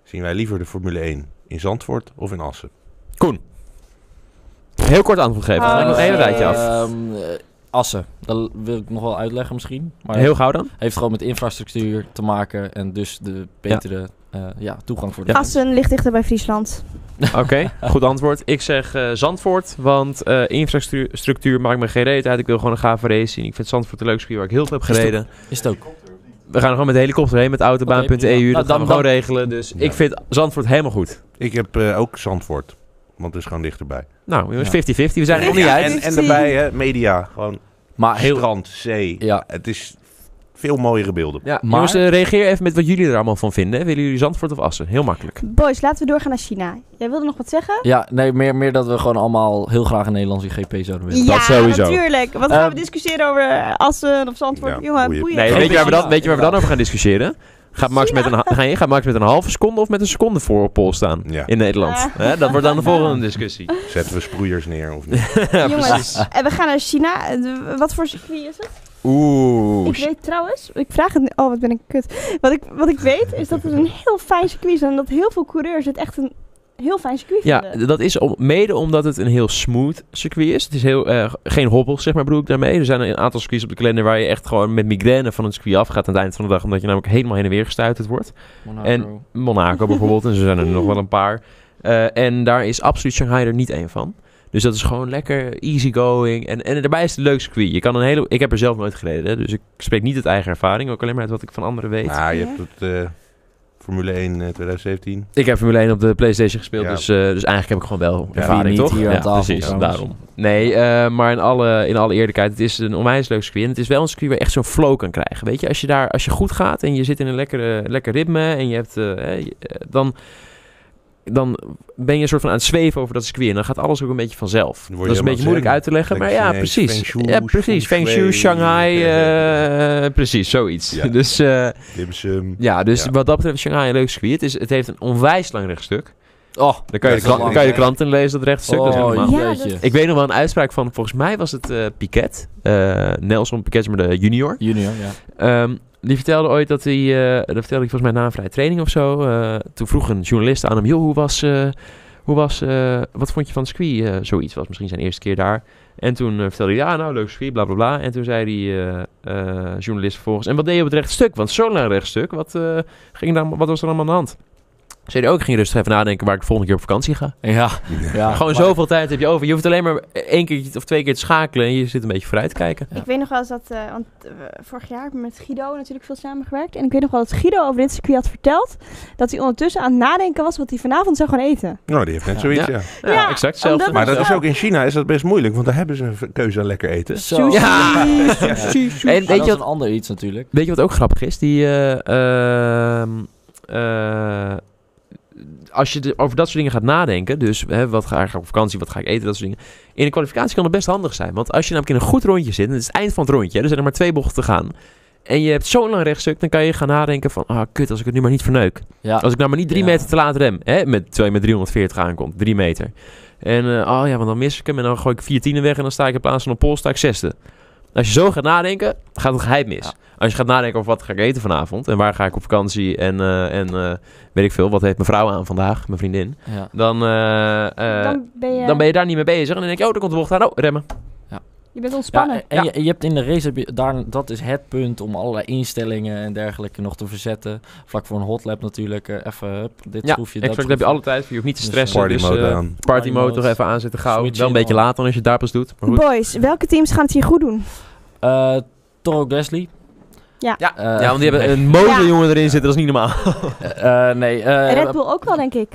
Zien wij liever de Formule 1 in Zandvoort of in Assen? Heel kort antwoord geven. Oh, Dan ga ik nog shit. één rijtje af. Ehm, eh, Assen, dat wil ik nog wel uitleggen misschien. Maar Heel gauw dan. heeft gewoon met infrastructuur te maken en dus de betere ja. ja, toegang voor de mensen. Assen ligt dichter bij Friesland. Oké, goed antwoord. Ik zeg eh, Zandvoort, want eh, infrastructuur structuur maakt me geen reet uit. Ik wil gewoon een gave race zien. Ik vind Zandvoort een leuk circuit waar ik heel veel heb Is het- gereden. Is het ook. We gaan gewoon met de helikopter heen, met autobaan.eu. Oké, prima. dat Nou, gaan we dan- gewoon regelen. Dus Ja. ik vind Zandvoort helemaal goed. Ik heb eh, ook Zandvoort, want het is gewoon dichterbij. Nou, jongens, Ja. 50-50. We zijn er nog niet Ja, uit. Ah, en, en daarbij hè, media, gewoon Maar heel... strand, zee. Ja, Het is veel mooiere beelden. Ja, Maar- Jongens, eh, reageer even met wat jullie er allemaal van vinden. hè. Willen jullie Zandvoort of Assen? Heel makkelijk. Boys, laten we doorgaan naar China. Jij wilde nog wat zeggen? ja nee, meer, meer dat we gewoon allemaal heel graag een Nederlandse GP zouden willen. ja, sowieso. natuurlijk. Wat gaan we Ehm, discussiëren over eh, Assen of Zandvoort? Ja, Jongen, boeien. boeien. Nee, Geen weet je, waar we dan, China, weet je waar we dan over gaan discussiëren? Gaat Max, met een, ha- ga je, gaat Max met een halve seconde of met een seconde voor op pol staan Ja. in Nederland? Ah. Hè, dat wordt dan de volgende discussie. Zetten we sproeiers neer of niet? Ja, Jongens. precies. En we gaan naar China. Eh, Wat voor circuit is het? Oeh. ik weet trouwens, ik vraag het. Oh, wat ben ik kut. Wat ik, wat ik weet is dat het een heel fijn circuit is en dat heel veel coureurs het echt een heel fijn circuit Ja, vinden. dat is om, mede omdat het een heel smooth circuit is. Het is heel, eh, geen hobbels, zeg maar, bedoel ik daarmee. Er zijn een aantal circuits op de kalender waar je echt gewoon met migraine van een circuit afgaat aan het eind van de dag. Omdat je namelijk helemaal heen en weer gestuiterd wordt. En- Monaco bijvoorbeeld, en zo zijn er nog wel een paar. Eh, en daar is absoluut Shanghai er niet één van. Dus dat is gewoon lekker easygoing. En, en daarbij is het een leuk circuit. Je kan een hele, ik heb er zelf nooit gereden, hè, dus ik spreek niet uit eigen ervaring. Ook alleen maar uit wat ik van anderen weet. Nou, je Ja. hebt het eh, Formule 1 eh, 2017. Ik heb Formule 1 op de Playstation gespeeld, Ja. dus, eh, dus eigenlijk heb ik gewoon wel Ja, ervaring, wie niet toch? hier aan ja, tafel precies, trouwens. daarom. Nee, eh, maar in alle, in alle eerlijkheid, het is een onwijs leuk circuit. En het is wel een circuit waar je echt zo'n flow kan krijgen. Weet je, als je daar als je goed gaat en je zit in een lekkere, lekker ritme en je hebt, eh, eh, je- eh, dan, dan ben je een soort van aan het zweven over dat circuit. En dan gaat alles ook een beetje vanzelf. Dan Dat word je is een beetje helemaal moeilijk zen. uit te leggen, maar Lekker ja, Chinees, precies. feng shui, ja, precies. Feng feng Shui, shui. Shanghai, eh, precies, zoiets. Ja. Dus... eh, Dimsum. ja, dus Ja. wat dat betreft is Shanghai een leuk circuit. Het, is, het heeft een onwijs lang rechtstuk. Oh, Dan kan je, Ja, de krant- dat is kan je de lang. krant in lezen, dat rechtstuk. dat is dus oh, helemaal. ja. jeetje. dat- Ik weet nog wel een uitspraak van, volgens mij was het eh, Piquet. eh, Nelson Piquet, maar de junior. Junior, ja. Ehm, die vertelde ooit dat hij, eh, dat vertelde ik volgens mij na een vrije training of zo. eh, toen vroeg een journalist aan hem, joh, hoe was, eh, hoe was eh, wat vond je van het circuit? Eh, zoiets was misschien zijn eerste keer daar. En toen eh, vertelde hij, ja, nou, leuk circuit, bla, bla, bla. En toen zei die eh, eh, journalist vervolgens, en wat deed je op het rechtstuk? Want zo'n lang rechtstuk, wat, eh, ging daar, wat was er allemaal aan de hand? Zei hij ook, ik ging rustig even nadenken waar ik de volgende keer op vakantie ga. Ja, ja. Gewoon Maar- zoveel tijd heb je over. Je hoeft alleen maar één keer of twee keer te schakelen en je zit een beetje vooruit te kijken. Ik weet nog wel eens dat, eh, want eh, vorig jaar heb ik met Guido natuurlijk veel samengewerkt. En ik weet nog wel dat Guido over dit circuit had verteld. Dat hij ondertussen aan het nadenken was wat hij vanavond zou gaan eten. Nou, die heeft net Ja. zoiets, Ja. ja. Ja, Ja, exact hetzelfde. omdat- Maar dat Ja. is ook in China is dat best moeilijk, want daar hebben ze een keuze aan lekker Dus eten. Zo. Sushi, Ja. sushi, sushi. En En weet weet dat je is wat, een ander iets natuurlijk. weet je wat ook grappig is? Die, eh, ehm, eh, als je de- over dat soort dingen gaat nadenken, dus hè, wat ga ik op vakantie, wat ga ik eten, dat soort dingen. In de kwalificatie kan het best handig zijn. Want als je namelijk in een goed rondje zit, en het is het eind van het rondje, hè, er zijn er maar twee bochten te gaan. En je hebt zo'n lang rechtstuk, dan kan je gaan nadenken van, ah kut, als ik het nu maar niet verneuk. Ja. Als ik nou maar niet drie Ja. meter te laat rem, hè, met, terwijl je met 340 aankomt, drie meter. En eh, oh ja, want dan mis ik hem en dan gooi ik vier tienen weg en dan sta ik in plaats van een pol, sta ik zesde. Als je zo gaat nadenken, gaat het geheim mis. Ja. Als je gaat nadenken over wat ga ik eten vanavond en waar ga ik op vakantie en, eh, en eh, weet ik veel, wat heeft mijn vrouw aan vandaag, mijn vriendin, Ja. dan, eh, eh, dan, dan ben je, ben je daar niet mee bezig. En dan denk je, oh, daar komt de bocht aan, oh, remmen. je bent Ja, ontspannen. en en Je, je hebt in de race, heb je daar, dat is het punt om allerlei instellingen en dergelijke nog te verzetten. Vlak voor een hotlap natuurlijk, eh, even hup, dit Ja, schroefje, dat exact, daar heb je schroefje. alle tijd voor, je hoeft niet te Dus, stressen. Party Dus, mode eh, aan. party mode Party toch mode. even aanzetten gauw. Switch Wel een in beetje al. later dan als je daar pas doet. Maar goed. Boys, welke teams gaan het hier goed doen? Eh, Toro Gasly. Ja, Eh, ja, want die hebben nee. een motorjongen Ja. jongen erin zitten, dat is niet normaal. Eh, eh, nee, eh, Red Bull ook wel, denk ik.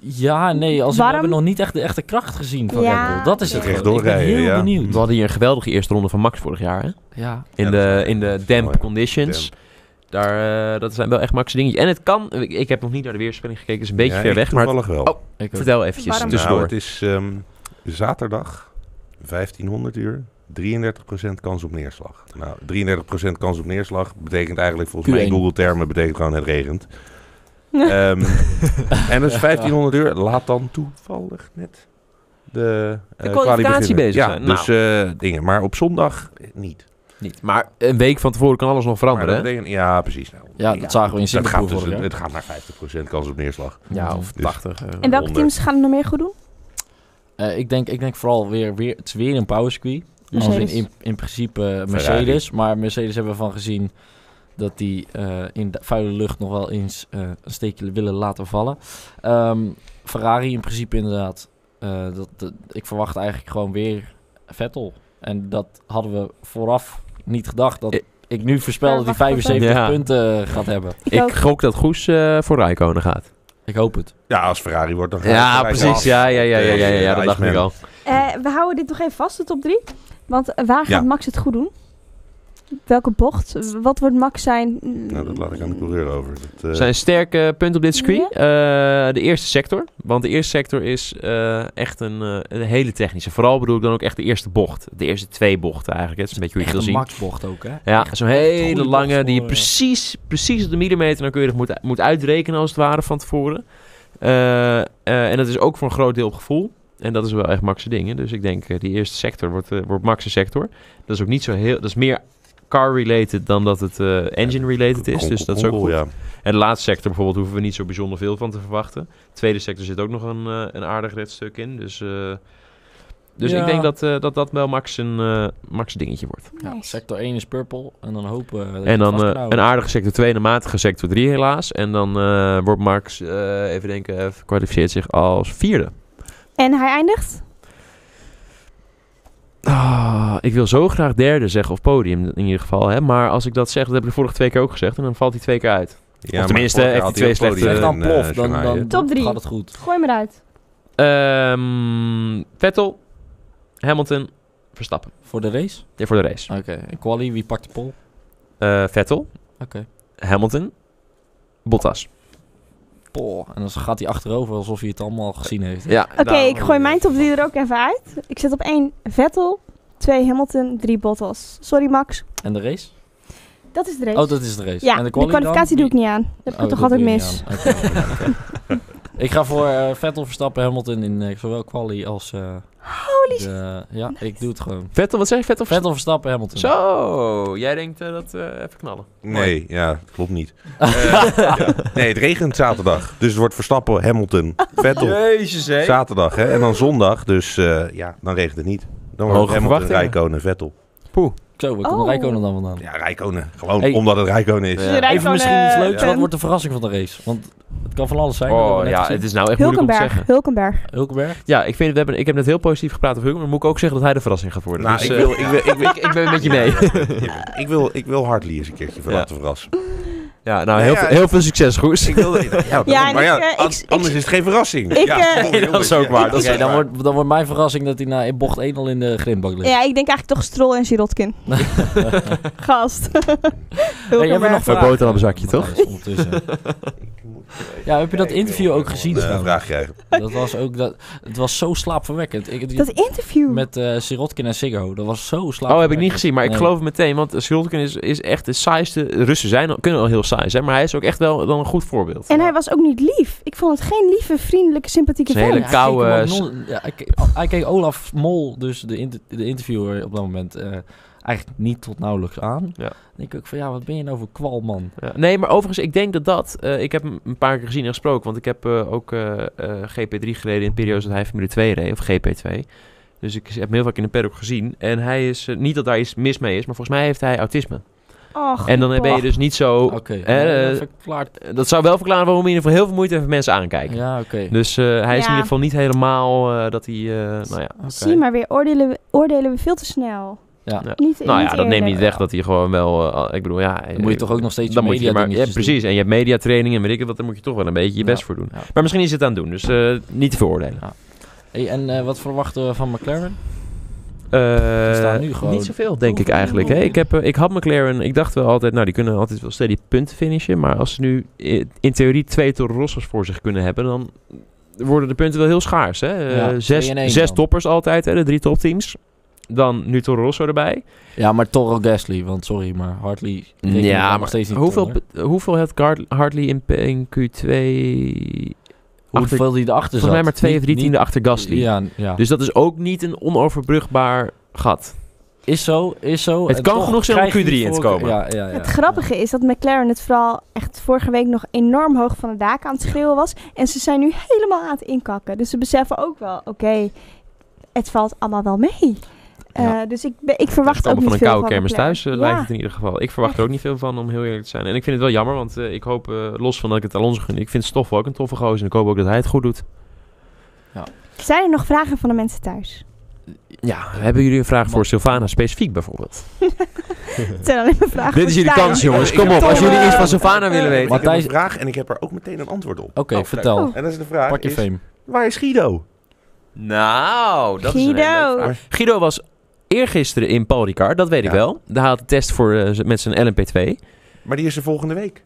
Ja, nee, als we Waarom? hebben nog niet echt de echte kracht gezien van Ja. Red Bull. Dat is het. Recht gewoon. Ik ben doorrijden, heel ja. We benieuwd. hadden hier een geweldige eerste ronde van Max vorig jaar. Hè? Ja. In, Ja, dat de, is waar. in Dat de is wel, damp ja. conditions. Daar, eh, dat zijn wel echt Max dingetjes. En het kan, ik, ik heb nog niet naar de weerspelling gekeken, is een beetje Ja, ver ik weg. Maar Toevallig wel. Oh, Ik ook. vertel eventjes Waarom? tussendoor. Nou, het is ehm, zaterdag, 1500 uur, 33% kans op neerslag. Nou, 33% kans op neerslag betekent eigenlijk volgens mij in Q1. Google-termen betekent gewoon het regent. Ehm, en dat is 1500 uur. Laat dan toevallig net de, eh, kwali kwalificatie beginnen. bezig ja, zijn. Nou. Dus eh, dingen. Maar op zondag niet. niet. Maar een week van tevoren kan alles nog Maar dat veranderen, hè? betekent- ja, precies. Nou, Ja, dat zagen we in dat Singapore gaat dus, vorig jaar. het gaat naar 50% kans op neerslag. Ja, of Dus- 80. eh. En welke Honderd. teams gaan het nog meer goed doen? Eh, ik, denk, ik denk vooral weer, weer, het is weer een power squee. Als in, Mercedes. in, in principe eh, Mercedes. Maar Mercedes hebben we van gezien dat die eh, in de vuile lucht nog wel eens eh, een steekje willen laten vallen. Ehm, Ferrari in principe inderdaad. Eh, dat, dat- ik verwacht eigenlijk gewoon weer Vettel. En dat hadden we vooraf niet gedacht. Dat Ik- ik nu voorspel dat Ja, hij wacht, wacht, wacht. 75 Eh, Ja. punten eh, gaat hebben. Ik, Ik ook. gok dat Goes eh, voor Rijkonen gaat. Ik hoop het. Ja, als Ferrari wordt dan gaat Ja, Ferrari precies. af. Ja, ja, ja, ja, ja, ja, Tegen, eh, dat dacht ik Iceman. al. Eh, we houden dit nog even vast, de top 3. Want eh, waar gaat Ja. Max het goed doen? Welke bocht? W- Wat wordt Max zijn? Nou, dat laat ik aan de coureur over. Dat, eh, Zijn sterke punt op dit circuit? eh, de eerste sector. Want de eerste sector is eh, echt een, eh, een hele technische. Vooral bedoel ik dan ook echt de eerste bocht. De eerste twee bochten eigenlijk. Het is een beetje hoe je Echt het een wil zien. Max-bocht ook, hè? Ja, Echt zo'n een hele goede lange bocht die je voor, eh, precies, precies op de millimeter nauwkeurig moet, moet uitrekenen als het ware van tevoren. Eh, eh, en dat is ook voor een groot deel op gevoel. En dat is wel echt Max' ding. hè. Dus ik denk, eh, die eerste sector wordt, eh, wordt Max' sector. Dat is ook niet zo heel... Dat is meer car-related dan dat het eh, engine-related is. Dus dat is ook Cool, goed. ja. En de laatste sector bijvoorbeeld hoeven we niet zo bijzonder veel van te verwachten. De tweede sector zit ook nog een, eh, een aardig redstuk in. Dus, eh, dus Ja. ik denk dat, eh, dat dat wel Max' een eh, Max' dingetje wordt. Ja, sector 1 is purple. En dan hopen we dat je En het vast dan kan eh, houden. een aardige sector 2 en een matige sector 3 helaas. En dan eh, wordt Max, eh, even denken, eh, kwalificeert zich als vierde. En hij eindigt? Ah, ik wil zo graag derde zeggen, of podium in ieder geval. Hè? Maar als ik dat zeg, dat heb ik de vorige twee keer ook gezegd. En dan valt hij twee keer uit. Ja, maar tenminste, heeft vorig jaar hij had twee ook slechte- Zeg podium dan in, eh, plof, dan, Shanghai, hè. dan Top drie. gaat het goed. Gooi me eruit. Ehm, Vettel, Hamilton, Verstappen. Voor de race? Ja, voor de race. Oké. En Quali, wie pakt de pol? Eh, Vettel, Oké. Hamilton, Bottas. Pol. En dan gaat hij achterover alsof hij het allemaal gezien heeft. Ja, Oké, ik gooi eh, mijn top 3 er ook even uit. Ik zet op 1 Vettel, 2 Hamilton, 3 Bottas. Sorry Max, En de race? dat is de race. Oh, dat is de Oh, race. ja, en de, kwalificatie doe ik niet aan. Dat heb ik toch altijd mis. ik ga voor eh, Vettel Verstappen Hamilton in eh, zowel Quali als... eh, Holy shit. de- ja, ik doe het gewoon. Vettel, wat zeg je? Vettel, Vettel Verstappen Hamilton. Zo, jij denkt eh, dat we even knallen. Nee, ja, klopt niet. Eh, ja. Nee, het regent zaterdag. Dus het wordt Verstappen, Hamilton, Vettel. Jezus, hé. Zaterdag, hè. En dan zondag. Dus eh, ja, dan regent het niet. Dan Hoge wordt het Hamilton, verwachtingen. Rijkonen, Vettel. Zo, waar komt Oh. Rijkonen dan vandaan? Ja, Rijkonen. Gewoon Hey. omdat het Rijkonen is. Ja. Dus Rijkonen, Even misschien iets leuks. eh, Wat wordt de verrassing van de race? Want het kan van alles zijn. dat hebben Oh we net ja, gezien. het is nou echt moeilijk om te Hulkenberg, zeggen. Hulkenberg. Hulkenberg. Ja, ik, vind, we hebben, ik heb net heel positief gepraat over Hulkenberg. Maar moet ik ook zeggen dat hij de verrassing gaat worden. Nou, Dus, ik eh, wil, ik wil, ik wil, ik, ik ben met je mee. ik wil, ik wil Hartley eens een keertje voor Ja. laten verrassen. ja, nou, Ja, heel, ja, veel, ik- heel veel succes, Goes. Ik wilde, ja, Ja, en maar ik, ja, eh, ik- an- ik- anders is het geen verrassing. Ik, eh, Nee, sorry, dat is jongens. ook waar, dat is Oké, Ja, dan, wordt, dan wordt mijn verrassing dat hij na in bocht 1 al in de grindbak ligt. Ja, ik denk eigenlijk toch Stroll en Sirotkin. Gast. Hey, hebben we Hulkenberg. nog Bij vragen? boterhammenzakje, toch? Matthijs, ondertussen. Ja, heb je dat interview ook gezien? Eh, trouwens? vraag krijgen. Dat was ook dat, het was zo slaapverwekkend. Ik, Dat interview. met eh Sirotkin en Siggo, dat was zo slaapverwekkend. Oh, heb ik niet gezien. Maar ik Nee. geloof het meteen. Want Schultken is, is echt de saaiste. Russen zijn, al- kunnen al heel saai zijn. Maar hij is ook echt wel dan een goed voorbeeld. En hij was ook niet lief. Ik vond het geen lieve, vriendelijke, sympathieke Het is een vent. hele Ja, koude- hij keek hem ook non- ja, hij, keek, hij keek Olaf Mol, dus de, inter- de interviewer op dat moment, eh, eigenlijk niet tot nauwelijks aan. Ja. denk ik ook van, ja, wat ben je nou voor kwal, man? Ja. Nee, maar overigens, ik denk dat dat... eh, ik heb hem een paar keer gezien en gesproken. Want ik heb eh, ook eh, eh, GP3 gereden in de periode dat hij Formule 2 reed. Of GP2. Dus ik heb hem heel vaak in de paddock gezien. En hij is... eh, niet dat daar iets mis mee is. Maar volgens mij heeft hij autisme. Och, En dan ben je och. dus niet zo... Oké, eh, dat verklaart. Dat zou wel verklaren waarom hij in ieder geval heel veel moeite heeft met mensen aankijken. Ja, oké. Dus eh, hij is Ja. in ieder geval niet helemaal eh, dat hij... eh, nou ja, Oké. Zie maar weer, oordelen we, oordelen we veel te snel. Ja. Ja. Niet, nou ja, niet dat neemt niet eerlijk. weg dat hij gewoon wel... eh, al- ik bedoel, ja... Dan moet je eh, toch ook nog steeds Dan je moet je media maar, ja, dingetjes doen. precies. En je hebt mediatraining en weet ik het wat, daar moet je toch wel een beetje je Ja. best voor doen. Ja. Maar misschien is het aan het doen, dus eh, niet te veroordelen. Hey, en eh, wat verwachten we van McLaren? Eh, staan nu gewoon- Niet zoveel, denk ik Hoeveel eigenlijk. Hè? punten? Ik, heb, eh, ik had McLaren, ik dacht wel altijd, nou die kunnen altijd wel steady punten finishen. Maar als ze nu i- in theorie twee Toro Rosso's voor zich kunnen hebben, dan worden de punten wel heel schaars. Hè? Eh, Ja, zes twee en één zes dan. toppers altijd, hè? de drie topteams. Dan nu Toro Rosso erbij. Ja, maar Toro Gasly, want sorry, maar Hartley... Ja, nog maar steeds niet hoeveel, onder. pu- hoeveel had Gard- Hartley in, P- in Q2? achter- hoeveel die erachter zat. volgens mij maar twee Dus Niet- of drie Dus niet- tiende achter Gasly. Ja, ja. Dus dat is ook niet een onoverbrugbaar gat. Is zo, is zo. Het En kan toch genoeg zijn om krijg je Q3 die in te voorkeur. komen. Ja, ja, ja. Het grappige is dat McLaren het vooral echt vorige week nog enorm hoog van de daken aan het schreeuwen was. En ze zijn nu helemaal aan het inkakken. Dus ze beseffen ook wel, oké, het valt allemaal wel mee. Ja. Eh, dus ik, ben- ik verwacht Ze ook komen niet van een koude veel van kermis McLaren. thuis, eh, Ja. lijkt het in ieder geval. Ik verwacht er ook niet veel van, om heel eerlijk te zijn. En ik vind het wel jammer, want eh, ik hoop, eh, los van dat ik het Alonso gun, ik vind Stoffel ook een toffe gozer. En ik hoop ook dat hij het goed doet. Zijn er nog vragen van de mensen thuis? Ja, hebben jullie een vraag voor Sylvana specifiek bijvoorbeeld? Het zijn alleen maar vragen Dit is voor jullie Stijn. kans, jongens. Ik Kom heb op, toch, als jullie eh, iets van Sylvana willen Ik weten. Maar- heb Matthijs- een vraag en ik heb er ook meteen een antwoord op. Oké, Oh, vertel. Oh. En dat is de vraag. Pak je is, fame. Waar is Guido? Nou, dat is een Guido. hele leuke vraag. Guido was eergisteren in Paul Ricard, dat weet ik Ja. wel. Daar had de test voor, eh, z- met zijn LMP2. Maar die is er volgende week.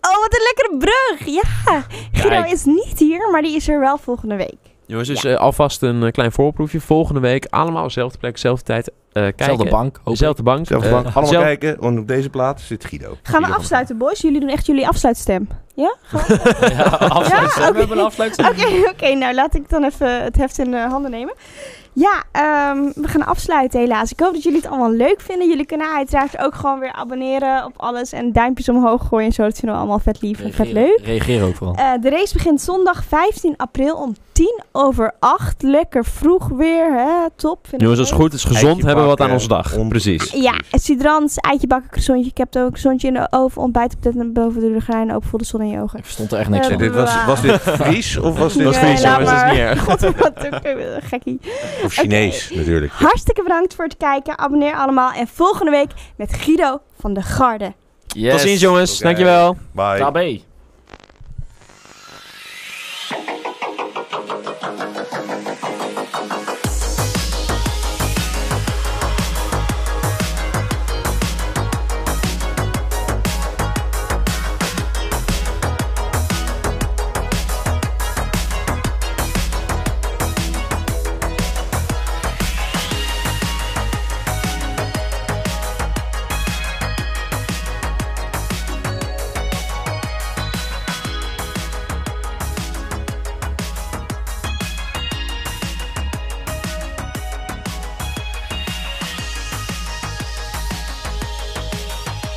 Oh, wat een lekkere brug. Ja, Guido Kijk. is niet hier, maar die is er wel volgende week. Jongens, dus eh, alvast een eh, klein voorproefje. Volgende week allemaal dezelfde plek, dezelfde tijd. eh, kijken. Zelfde bank. hoop ik. Dezelfde bank. Zelfs eh, lang allemaal zelf- kijken, want op deze plaat zit Guido. Gaan we Guido van afsluiten, boys? Jullie doen echt jullie afsluitstem. Ja? Gaan we- Ja, afsluitstem. oké. We hebben een afsluitstem. Oké, oké. nou, laat ik dan even het heft in de handen nemen. Ja, ehm, we gaan afsluiten helaas. Ik hoop dat jullie het allemaal leuk vinden. Jullie kunnen uiteraard ook gewoon weer abonneren op alles. En duimpjes omhoog gooien en zo. Dat vinden we allemaal vet lief en vet Reageer- leuk. Reageer ook vooral. Eh, de race begint zondag 15 april om 10 over 8. Lekker vroeg weer, hè? Top. vind ik Jongens, dat is leuk. goed. Het is gezond. Eitje Hebben we wat aan bakken, onze dag. on- Precies. Ja, sidrans, eitje bakken, croissantje. Ik heb er ook croissantje in de oven. Ontbijt op dit boven de grijn. Ook vol de zon in je ogen. Ik verstond er echt niks Eh, Nee, van. dit was, was dit Fries of was dit Dat is Nee, Fries, laat jongens, dat is maar. niet erg. God, wat een gekkie. Of Chinees natuurlijk. Hartstikke bedankt voor het kijken. Abonneer allemaal. En volgende week met Guido van de Garde. Tot ziens, jongens. Oké. Dankjewel. Bye. Tabé.